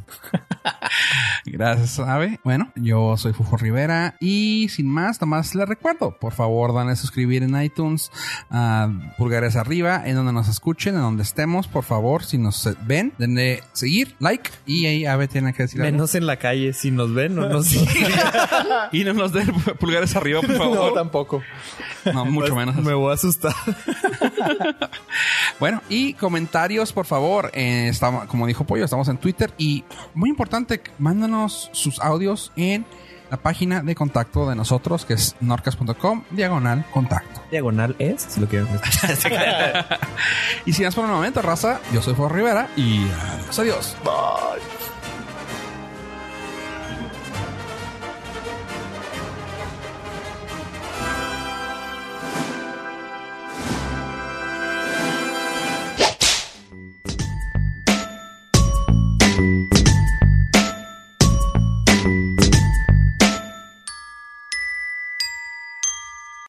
Speaker 2: Gracias, Ave. Bueno, yo soy Fufo Rivera y sin más, nomás les recuerdo, por favor, danle a suscribir en iTunes, a pulgares arriba, en donde nos escuchen, en donde estemos, por favor, si nos eh, ven, denle seguir, like y ahí Ave tiene que decir algo.
Speaker 1: en la calle, si nos ven o nos
Speaker 2: Y no nos den (laughs) pulgares arriba, por
Speaker 3: (laughs) no,
Speaker 2: favor.
Speaker 3: tampoco. Pues,
Speaker 2: No, mucho menos.
Speaker 1: Pues, voy a asustar.
Speaker 2: Bueno, y comentarios, por favor. Eh, estamos, como dijo Pollo, estamos en Twitter. Y muy importante, mándanos sus audios en la página de contacto de nosotros, que es norcas.com, diagonal contacto.
Speaker 1: Diagonal es, si lo quieren escuchar.
Speaker 2: Y sin más por el momento, raza, yo soy Juan Rivera y adiós. adiós.
Speaker 3: Bye.